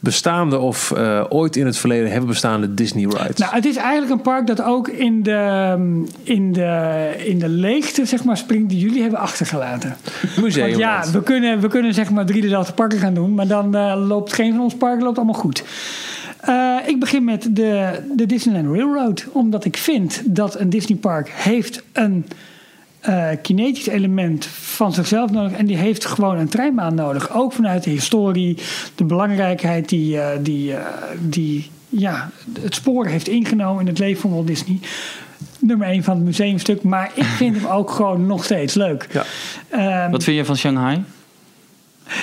bestaande of eh, ooit in het verleden hebben bestaande Disney rides.
Nou, het is eigenlijk een park dat ook in de, in de, in de leegte zeg maar, springt die jullie hebben achtergelaten. Want
Museum.
ja, we kunnen, we kunnen zeg maar drie dezelfde parken gaan doen, maar dan eh, loopt geen van ons parken loopt allemaal goed. Eh, ik begin met de, de Disneyland Railroad, omdat ik vind dat een Disneypark heeft een eh, kinetisch element van zichzelf nodig en die heeft gewoon een treinbaan nodig. Ook vanuit de historie, de belangrijkheid die, eh, die, eh, die ja, het spoor heeft ingenomen in het leven van Walt Disney. Nummer één van het museumstuk, maar ik vind hem ook gewoon nog steeds leuk.
Ja.
Ehm,
Wat vind je van Shanghai?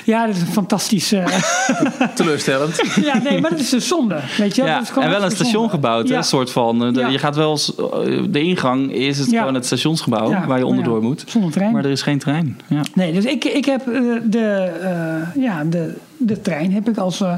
ja, dat is een fantastische.
(laughs) Teleurstellend.
ja, nee, maar dat is een zonde. Weet je? wel.
Ja,
Dat is gewoon
en wel een
zonde.
station gebouwd, hè,
Ja.
een soort van. eh, de-
Ja.
Je gaat wel eens, eh, de ingang is het
Ja.
gewoon het stationsgebouw
Ja,
waar je onderdoor
ja,
moet.
Zonder trein.
Maar er is geen trein. Ja.
Nee, dus ik, ik heb eh, de, eh, ja, de, de trein heb ik als eh,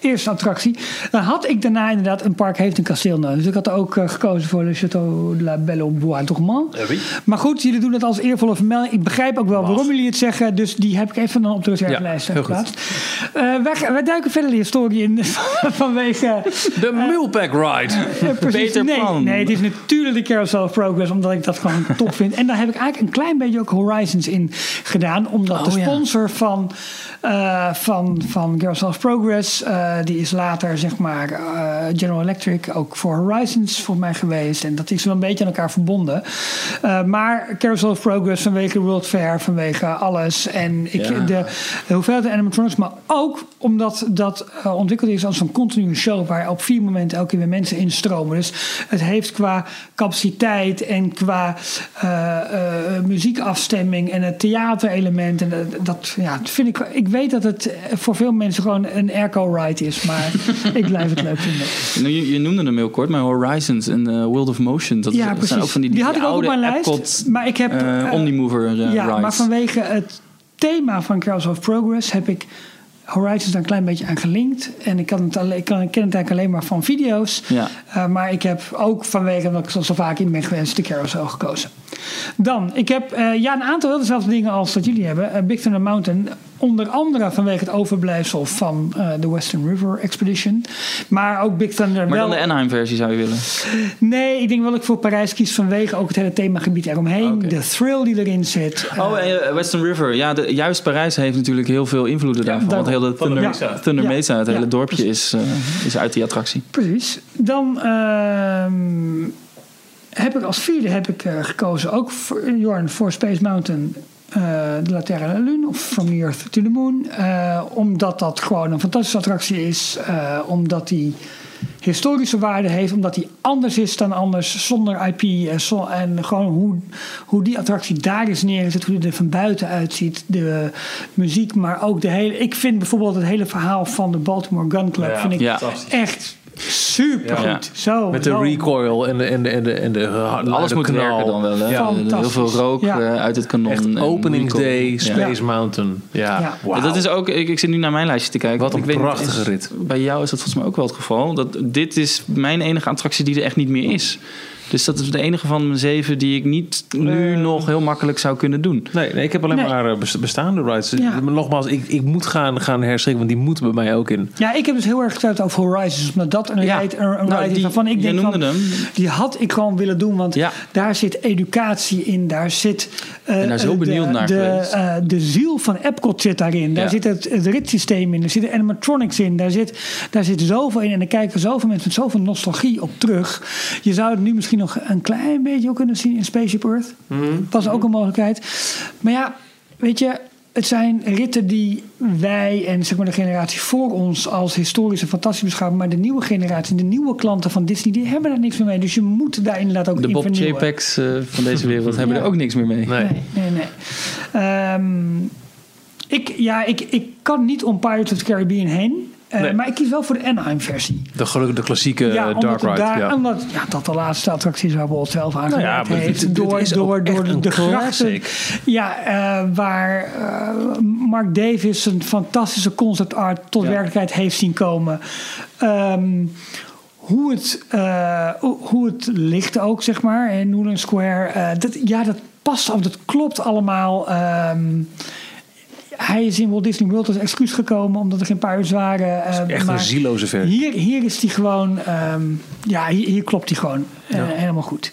eerste attractie. Dan had ik daarna inderdaad een park heeft een kasteel nodig. Dus ik had ook eh, gekozen voor Le Château de la Belle au Bois Dormant.
Eh,
Maar goed, jullie doen het als eervolle vermelding. Ik begrijp ook wel waarom jullie het zeggen. Dus die heb ik even dan op de reservelijst
Ja, heel goed.
geplaatst. Eh, wij, gaan- wij duiken verder de historie in (laughs) vanwege
De
eh,
Mulpack Ride.
Ja, precies.
Beter
nee,
plan.
Nee, het is natuurlijk de Carousel of Progress, omdat ik dat gewoon
(laughs)
top vind. En daar heb ik eigenlijk een klein beetje ook Horizons in gedaan, omdat
Oh,
de sponsor van, eh, van, van Carousel of Progress, eh, die is later zeg maar eh, General Electric ook voor Horizons voor mij geweest. En dat is wel een beetje aan elkaar verbonden. Eh, maar Carousel of Progress vanwege World Fair, vanwege alles. En ik, de, de hoeveelheid animatronics, maar ook omdat dat eh, ontwikkeld is als een continue show waar op vier momenten elke keer weer mensen instromen. Dus het heeft qua capaciteit en qua eh, eh, muziekafstemming en het theaterelement. En eh, dat ja, dat vind ik. Ik weet dat het eh, voor veel mensen gewoon een airco ride is, maar (laughs) ik blijf het leuk vinden.
Nou, Je, je noemde hem heel kort, maar Horizons en eh, World of Motion. Dat
Ja,
zijn
precies.
ook van die,
had ik ook op
oude
mijn lijst.
Epcot,
maar ik heb.
eh,
eh,
Omnimover eh,
ja,
rides.
maar vanwege het thema van Carousel of Progress heb ik Horizons daar een klein beetje aan gelinkt. En ik, kan het alleen, ik, kan, ik ken het eigenlijk alleen maar van video's.
Ja.
Eh, maar ik heb ook vanwege dat ik zo, zo vaak in ben geweest de Carousel gekozen. Dan, ik heb eh, ja, een aantal wel dezelfde dingen als dat jullie hebben. Eh, Big Thunder Mountain, onder andere vanwege het overblijfsel van eh, de Western River Expedition. Maar ook Big Thunder
Maar
wel...
dan de Anaheim-versie zou je willen.
nee, ik denk wel dat ik voor Parijs kies vanwege ook het hele themagebied eromheen. De thrill die erin zit. Eh,
Oh, en, eh, Western River. Ja, de- juist Parijs heeft natuurlijk heel veel invloeden daarvan. Want
daarom.
heel de Thunder,
Ja.
Mesa. Thunder
Ja.
Mesa, het
Ja,
hele dorpje, is, eh, is uit die attractie.
Precies. Dan ehm, heb ik als vierde heb ik, eh, gekozen ook voor, eh, Jorn voor Space Mountain. eh, de La Terra à la Lune of From the Earth to the Moon. eh, omdat dat gewoon een fantastische attractie is. eh, omdat die historische waarde heeft. Omdat die anders is dan anders. Zonder IP. eh, zo- en gewoon hoe, hoe die attractie daar is neergezet. Hoe die er van buiten uitziet. De muziek, maar ook de hele... Ik vind bijvoorbeeld het hele verhaal van de Baltimore Gun Club...
Ja,
vind ik
ja.
echt super goed.
Ja.
Zo,
Met de
zo.
recoil en de, en de, en de, en de
Alles moet werken dan wel. Hè? Eh,
Fantastisch.
Heel veel rook
Ja.
eh, uit het kanon.
Echt
en
openingsday,
recall. Ja.
Space Mountain. Ja,
Ja.
wauw.
Dat is ook, ik, ik zit nu naar mijn lijstje te kijken.
Wat
want
een
ik weet niet,
prachtige
is-
rit.
Bij jou is dat volgens mij ook wel het geval. Dat, dit is mijn enige attractie die er echt niet meer is. Dus dat is de enige van mijn zeven die ik niet nu nog heel makkelijk zou kunnen doen.
Nee, nee, ik heb alleen
Nee.
maar eh, bes- bestaande rides.
Ja.
Maar Nogmaals, ik, ik moet gaan, gaan herschrikken, want die moeten bij mij ook in.
Ja, ik heb dus heel erg getuigd over Horizons. Omdat dat een
Ja.
ride, een, een
Nou,
ride is
die-
waarvan ik
jij
denk
noemde
van,
hem.
Die had ik gewoon willen doen. Want
Ja.
daar zit educatie in. Daar zit... eh,
ben daar zo
eh,
benieuwd
de,
naar
de,
geweest.
eh, de ziel van Epcot zit daarin. Daar
Ja.
zit het, het ritssysteem in. Daar zitten animatronics in. Daar zit, daar zit zoveel in. En er kijken zoveel mensen met zoveel nostalgie op terug. Je zou het nu misschien nog een klein beetje ook kunnen zien in Spaceship Earth.
Mhm.
Was ook een mogelijkheid. Maar ja, weet je... Het zijn ritten die wij en zeg maar de generatie voor ons als historisch en fantastisch beschouwen. Maar de nieuwe generatie, de nieuwe klanten van Disney, die hebben daar niks meer mee. Dus je moet daar inderdaad ook
De
in
Bob
vernieuwen.
J-Packs eh, van deze (laughs) wereld hebben er ook niks meer mee.
Nee.
Nee, nee. Ehm, ik, ja, ik, ik kan niet om Pirates of the Caribbean heen. Eh,
Nee.
Maar ik kies wel voor de Anaheim-versie.
De, gelu- de klassieke eh,
ja,
Dark
omdat, het
Ride.
daar,
ja. Nou
omdat ja, dat de laatste attracties waar Bolt zelf aan
ja,
gedaan
maar dit-
heeft.
dit
door
is ook
door,
echt
door
een
de grachten.
classic.
Ja, eh, waar eh, Mark Davis een fantastische concept art tot werkelijkheid heeft zien komen. Ehm, hoe het, eh, hoe- hoe het ligt ook, zeg maar, in Newland Square. eh, dat, ja, dat past allemaal, dat klopt allemaal. Ehm, hij is in Walt Disney World als excuus gekomen omdat er geen paarden waren. eh,
Echt een
maar-
zieloze versie.
hier, hier is die gewoon. ehm, ja, hier, hier klopt die gewoon eh, helemaal goed.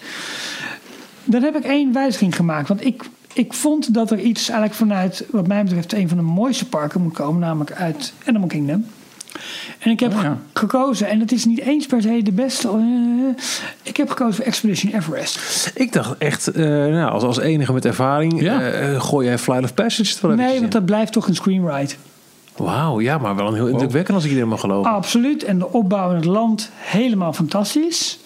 Dan heb ik één wijziging gemaakt. Want ik, ik vond dat er iets eigenlijk vanuit, wat mij betreft, een van de mooiste parken moet komen. Namelijk uit Animal Kingdom. En ik heb
Oh ja.
ge- gekozen, en het is niet eens per se de beste. eh, ik heb gekozen voor Expedition Everest.
Ik dacht echt, eh, nou, als, als enige met ervaring,
Ja.
eh, eh, gooi jij Flight of Passage er wel
Nee,
eventjes
want dat blijft toch een screenride.
in. Wauw, ja, maar wel een heel indrukwekkend als ik iedereen mag
Oh.
geloven.
Absoluut. En de opbouw in het land helemaal fantastisch.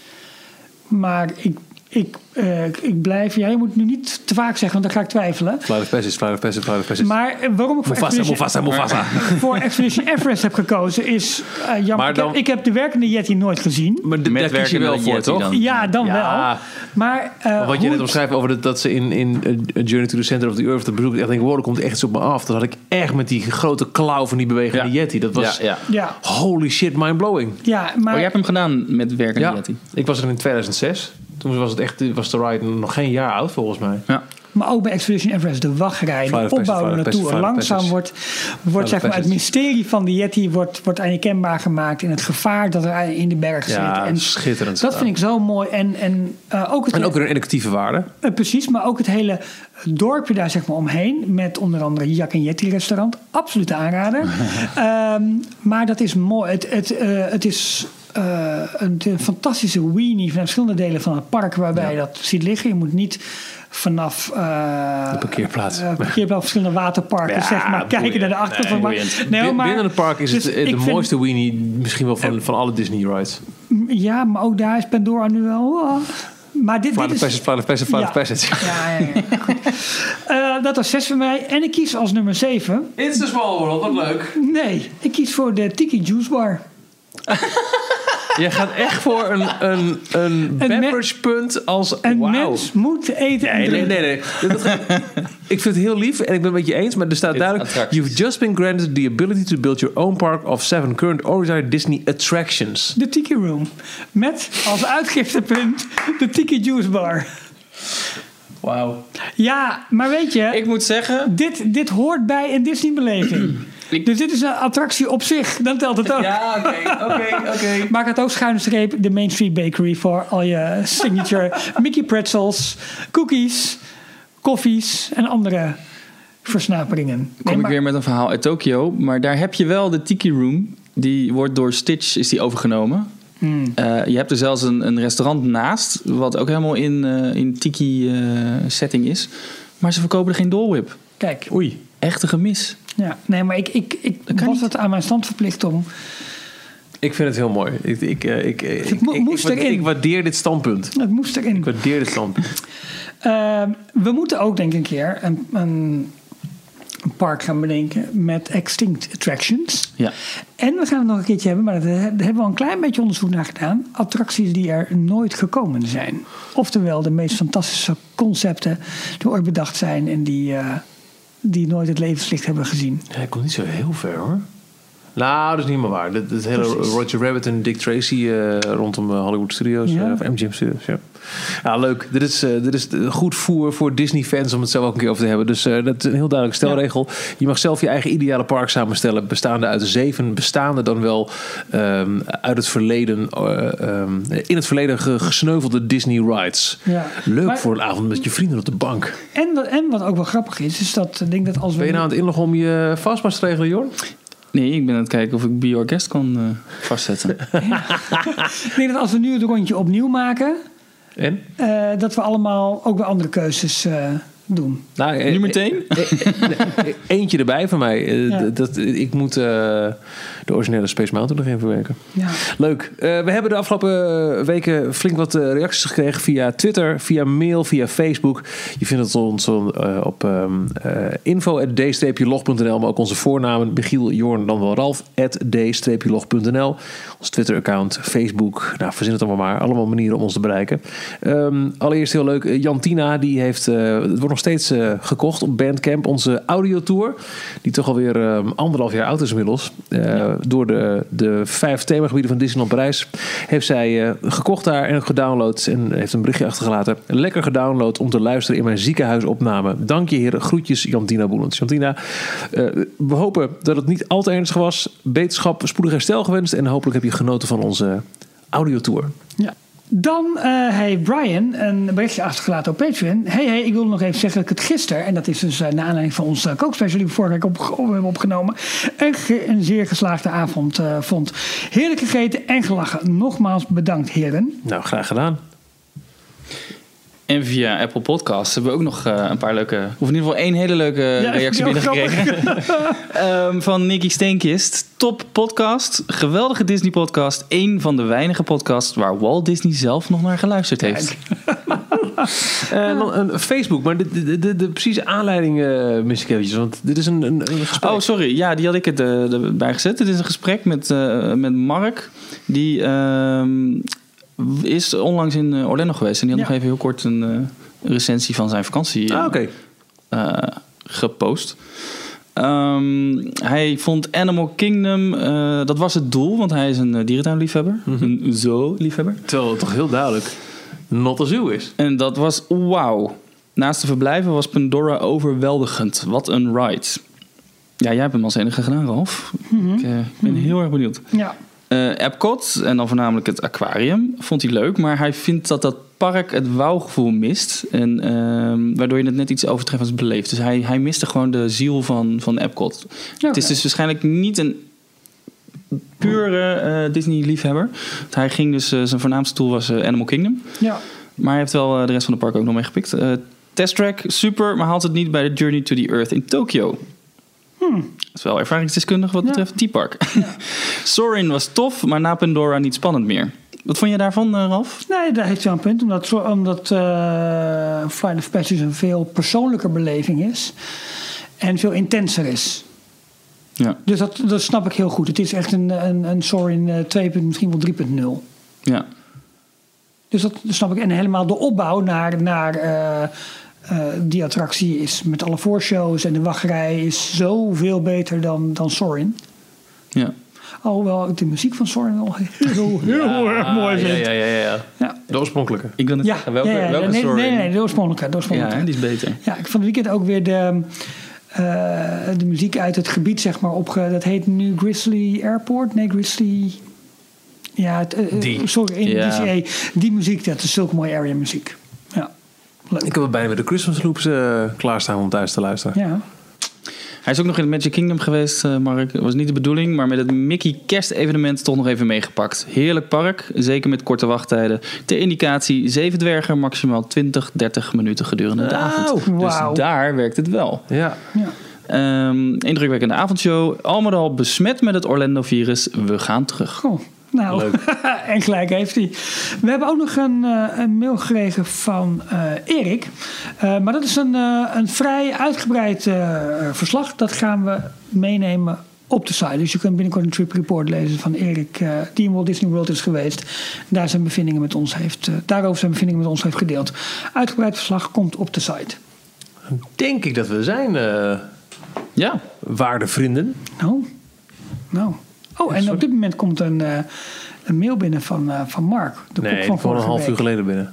Maar ik, ik, eh, ik blijf. Jij moet nu niet te vaak zeggen, want dan ga ik twijfelen.
Flight of Passage, Flight of Passage, Flight of Passage.
Maar eh, waarom ik voor
Mufasa,
Expedition,
Mufasa, Mufasa.
(laughs) voor Expedition Everest heb gekozen is eh, jammer.
Maar
ik, heb,
dan-
ik heb de werkende Yeti nooit gezien.
Maar d-
Met
daar kies je
werkende
wel voor,
Yeti
toch?
dan.
Ja, dan
Ja.
wel. Maar, eh,
Wat
hoe
je net
het-
omschrijft over dat, dat ze in, in eh, Journey to the Center of the Earth... dat bezoek ik echt denk, wow, dat komt echt iets op me af. Dat had ik echt met die grote klauw van die bewegende
Ja.
Yeti. Dat was
Ja, ja.
Ja,
holy shit, mind-blowing.
ja, maar
Oh, jij hebt hem gedaan met werkende
Ja,
Yeti.
ik was er in 2006. Toen was, het echt, was de ride nog geen jaar oud, volgens mij.
Ja.
Maar ook bij Expedition Everest, de wachtrij,
Flight
de
of Passage,
opbouw
Flight of
naartoe
Passage,
er
Flight of
langzaam
Passage.
wordt, wordt zeg maar, het
Passage.
mysterie van de Yeti wordt, wordt aan je kenbaar gemaakt in het gevaar dat er in de berg zit.
Ja,
en
schitterend
Dat
gedaan.
vind ik zo mooi. En, en, eh, ook het,
En ook weer een educatieve waarde.
eh, precies, maar ook het hele dorpje daar zeg maar omheen, met onder andere Jak en Yeti restaurant, absoluut aanrader.
(laughs)
Ehm, maar dat is mooi. Het, het, eh, het is eh, een, een fantastische weenie van verschillende delen van het park waarbij je dat ziet liggen. Je moet niet vanaf eh,
De parkeerplaats.
eh, parkeerplaats, verschillende waterparken,
Ja,
Dus zeg maar, kijken naar de
boeiend.
achtergrond. Maar- nee,
Bin-
maar-
Binnen het park is
dus
het eh, de
ik vind-
mooiste weenie misschien wel van, van alle Disney rides.
Ja, maar ook daar is Pandora nu wel. oh. Maar dit,
Flight
dit
of
is,
Passage, Flight of Passage, Flight of Passage.
(laughs) ja, ja, ja. Goed. Eh, dat was 6 voor mij. En ik kies als nummer 7.
It's a small world, wat leuk.
Nee, ik kies voor de Tiki Juice Bar.
Jij gaat echt voor een, een, een
me-
beverage punt als...
Een
wauw.
mens moet eten en
Nee, nee,
drinken.
nee. nee. Dat- dat- ik vind het heel lief en ik ben het met je eens, maar er staat duidelijk...
attracties.
You've just been granted the ability to build your own park of seven current or Disney attractions.
De Tiki Room. Met als uitgiftepunt de Tiki Juice Bar.
Wauw.
Ja, maar weet je,
Ik moet zeggen,
dit, dit hoort bij een Disney-beleving.
(clears throat) Ik-
Dus dit is een attractie op zich. Dan telt het ook.
Ja, oké, oké, oké.
Maak het ook schuine streep de Main Street Bakery voor al je signature
(laughs)
Mickey pretzels, cookies, koffies en andere versnaperingen.
Kom
Nee,
ik
maar-
weer met een verhaal uit Tokio, maar daar heb je wel de Tiki Room. Die wordt door Stitch is die overgenomen.
Hmm.
Eh, je hebt er zelfs een, een restaurant naast, wat ook helemaal in, eh, in Tiki eh, setting is. Maar ze verkopen er geen dolwip.
Kijk,
Oei. Echte gemis.
ja, nee, maar ik, ik, ik
kan
was
niet.
het aan mijn stand verplicht om.
Ik vind het heel mooi. Ik, ik, eh, ik, eh, ik,
mo-
ik- ik
moest
waardeer-
erin.
ik waardeer dit standpunt.
Het moest erin.
Ik waardeer dit standpunt.
Ehm, we moeten ook, denk ik, een keer een, een, een park gaan bedenken met Extinct Attractions.
Ja.
En we gaan het nog een keertje hebben, maar daar daar hebben we al een klein beetje onderzoek naar gedaan. Attracties die er nooit gekomen zijn. Oftewel de meest fantastische concepten die ooit bedacht zijn en die, eh, die nooit het levenslicht hebben gezien.
Ja, hij komt niet zo heel ver hoor. Nou, dat is niet meer waar. Dat, dat hele
Precies.
Roger Rabbit en Dick Tracy eh, rondom eh, Hollywood Studios.
Ja.
eh, of MGM Studios, ja. Ja, leuk. Dit is, eh, dit is eh, goed voer voor Disney-fans om het zelf ook een keer over te hebben. Dus eh, dat is een heel duidelijke stelregel. Je mag zelf je eigen ideale park samenstellen. Bestaande uit zeven bestaande dan wel ehm, uit het verleden... eh, ehm, in het verleden ge- gesneuvelde Disney rides.
Ja.
Leuk
Maar-
voor een avond met je vrienden op de bank.
En, wat- en wat ook wel grappig is, is dat ik denk dat als we.
Ben je nou aan het inloggen om je vastpas te regelen, Jorn?
Nee, ik ben aan het kijken of ik Be Your Guest kan eh,
(laughs)
vastzetten.
Ik denk dat als we nu het rondje opnieuw maken,
En?
eh, dat we allemaal ook weer andere keuzes eh, doen.
Nou, eh,
Nu meteen?
eh, eh, eh, Eentje erbij van mij. Eh,
Ja.
d- dat, ik moet eh, de originele Space Mountain nog even verwerken.
Ja.
Leuk. Eh, we hebben de afgelopen weken flink wat eh, reacties gekregen via Twitter, via mail, via Facebook. Je vindt het ons eh, op ehm eh, info.d-log.nl, maar ook onze voornamen Michiel, Jorn, dan wel Ralf, at d-log.nl. Ons Twitter-account, Facebook, nou verzin het allemaal maar. Allemaal manieren om ons te bereiken. Ehm, allereerst heel leuk, eh, Jantina, die heeft, eh, het wordt nog steeds eh, gekocht op Bandcamp, onze audiotour. Die toch alweer ehm anderhalf jaar oud is inmiddels. Eh, Door de, de vijf themagebieden van Disneyland Parijs heeft zij eh, gekocht daar en ook gedownload. En heeft een berichtje achtergelaten. Lekker gedownload om te luisteren in mijn ziekenhuisopname. Dank je heren. Groetjes Jantina Boelens. Jantina, eh, we hopen dat het niet al te ernstig was. Beterschap, spoedig herstel gewenst. En hopelijk heb je genoten van onze audiotour.
Ja. Dan eh heeft Brian een berichtje achtergelaten op Patreon. Hey, hey, ik wil nog even zeggen dat ik het gisteren, en dat is dus eh naar aanleiding van onze kookspecial die we vorige week op, op- hebben opgenomen, een, ge- een zeer geslaagde avond eh, vond. Heerlijk gegeten en gelachen. Nogmaals bedankt, heren.
Nou, graag gedaan.
En via Apple Podcasts hebben we ook nog eh, een paar leuke, of in ieder geval één hele leuke Eh, reactie
die was
binnengekregen. (laughs) Ehm, van Nicky Steenkist. Top podcast, geweldige Disney podcast. Eén van de weinige podcasts waar Walt Disney zelf nog naar geluisterd heeft.
Eh, dan een Facebook, maar de, de, de, de precieze aanleiding eh, mis ik eventjes. Want dit is een, een, een gesprek.
Oh, sorry. Ja, die had ik het eh, erbij gezet. Het is een gesprek met, eh, met Mark. Die ehm, is onlangs in eh, Orlando geweest. En die had
Ja.
nog even heel kort een eh, recensie van zijn vakantie eh,
Ah, oké.
eh, gepost. Ehm, hij vond Animal Kingdom, eh, dat was het doel, want hij is een eh, dierentuinliefhebber. Een zoo-liefhebber.
Terwijl het toch heel duidelijk not a zoo is.
En dat was wauw. Naast de verblijven was Pandora overweldigend. Wat een ride. Ja, jij hebt hem als enige gedaan, Ralf. Ik eh, ben heel erg benieuwd.
Ja.
Eh Epcot, en dan voornamelijk het aquarium, vond hij leuk. Maar hij vindt dat dat park het wauwgevoel mist. En, ehm, waardoor je het net iets overtreffends beleeft. Dus hij, hij miste gewoon de ziel van, van Epcot. Het is dus waarschijnlijk niet een pure eh, Disney-liefhebber. Want Hij ging dus, eh, zijn voornaamste tool was eh, Animal Kingdom.
Ja.
Maar hij heeft wel eh, de rest van de park ook nog meegepikt. Eh test track, super, maar haalt het niet bij de Journey to the Earth in Tokyo. Dat is wel ervaringsdeskundig wat betreft die park. (laughs) Sorin was tof, maar na Pandora niet spannend meer. Wat vond je daarvan, eh, Ralf?
Nee, daar heeft hij wel een punt. Omdat, zo- omdat eh, Flight of Passage een veel persoonlijker beleving is. En veel intenser is.
Ja.
Dus dat, dat snap ik heel goed. Het is echt een, een, een Soarin eh, 2, misschien wel 3.0.
ja.
Dus dat snap ik. En helemaal de opbouw naar, naar eh, eh, die attractie is met alle voorshows en de wachtrij is zoveel beter dan, dan Sorin.
ja.
Alhoewel ik de muziek van Sorin al (laughs)
(laughs)
heel, heel erg mooi vind.
Ah, ja, ja, ja.
Ja.
De oorspronkelijke.
Ik wil net
Ja,
zeggen, welke,
ja, ja,
welke
nee,
Soarin?
nee, nee, de oorspronkelijke. De
Ja,
oorspronkelijke.
hè, die is beter.
Ja, ik van het weekend ook weer de, eh, de muziek uit het gebied, zeg maar, opge... Dat heet nu Grizzly Airport? Nee, Grizzly... Ja, het, eh, eh,
Die.
sorry, in
Ja.
DCA. Die muziek, dat is zulke mooie area muziek. Ja, leuk.
Ik heb er bijna weer de Christmas loops eh, klaarstaan om thuis te luisteren.
Ja.
Hij is ook nog in het Magic Kingdom geweest, eh, Mark. Dat was niet de bedoeling, maar met het Mickey kerstevenement toch nog even meegepakt. Heerlijk park, zeker met korte wachttijden. Ter indicatie, zeven dwergen, maximaal 20, 30 minuten gedurende de avond.
wauw.
Dus daar werkt het wel.
Ja.
Ja.
Ehm indrukwekkende avondshow. Al met al besmet met het Orlando-virus. We gaan terug.
Goh. Nou, (laughs) en gelijk heeft hij. We hebben ook nog een, eh, een mail gekregen van eh, Erik. Eh, maar dat is een, eh, een vrij uitgebreid eh, verslag. Dat gaan we meenemen op de site. Dus je kunt binnenkort een trip report lezen van Erik, eh, die in Walt Disney World is geweest. Daar zijn bevindingen met ons heeft, eh, daarover zijn bevindingen met ons heeft gedeeld. Uitgebreid verslag komt op de site.
Denk ik dat we zijn, eh
Ja,
waarde vrienden.
Nou, nou. Oh, en op dit moment komt een, eh, een mail binnen van, eh, van Mark. De kop
Nee, gewoon een
van vorige
half
week.
uur geleden binnen.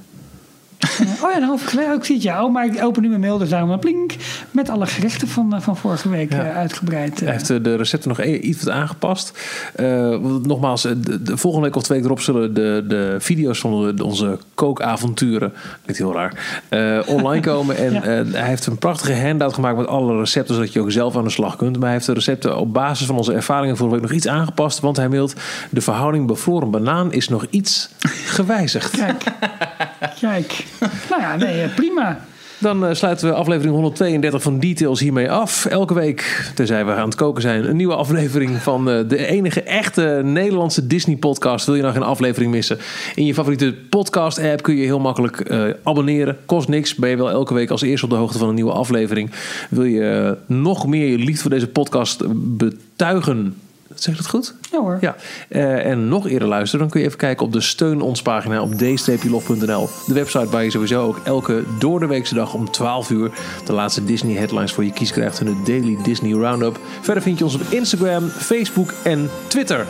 Oh ja, een half uur geleden. Ik zie het jou, maar ik open nu mijn mail, dus daarom een plink. Met alle gerechten van, eh, van vorige week
Ja.
eh, uitgebreid. eh.
Hij heeft eh, de recepten nog e- iets wat aangepast. Eh, want nogmaals, eh, de, de volgende week of twee week erop zullen de, de video's van de- de- onze kookavonturen, klinkt heel raar, eh, online komen. En
Ja.
eh, hij heeft een prachtige handout gemaakt met alle recepten, zodat je ook zelf aan de slag kunt. Maar hij heeft de recepten op basis van onze ervaringen vorige week nog iets aangepast. Want hij mailt, de verhouding bevroren banaan is nog iets gewijzigd.
Kijk. Kijk. Nou ja, nee, eh, prima.
Dan eh, sluiten we aflevering 132 van Details hiermee af. Elke week, terzij we aan het koken zijn, een nieuwe aflevering van eh, de enige echte Nederlandse Disney-podcast. Wil je nou geen aflevering missen? In je favoriete podcast-app kun je heel makkelijk eh, abonneren. Kost niks. Ben je wel elke week als eerste op de hoogte van een nieuwe aflevering. Wil je eh, nog meer je liefde voor deze podcast betuigen? Zeg ik dat goed?
Ja hoor.
Ja, eh, en nog eerder luisteren, dan kun je even kijken op de steun ons pagina op d-log.nl. De website waar je sowieso ook elke door de weekse dag om 12 uur de laatste Disney headlines voor je kies krijgt in de Daily Disney Roundup. Verder vind je ons op Instagram, Facebook en Twitter.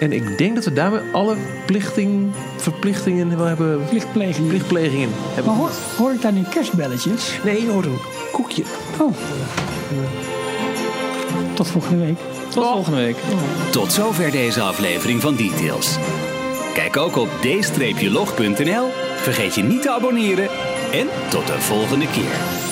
En ik denk dat we daarmee alle plichting, verplichtingen wel hebben.
Plichtpleging.
Plichtplegingen hebben.
Maar hoor, hoor ik daar nu kerstbelletjes?
Nee, je hoort een koekje.
Oh. Tot volgende week.
Tot volgende week.
Tot zover deze aflevering van Details. Kijk ook op d-log.nl. Vergeet je niet te abonneren. En tot de volgende keer.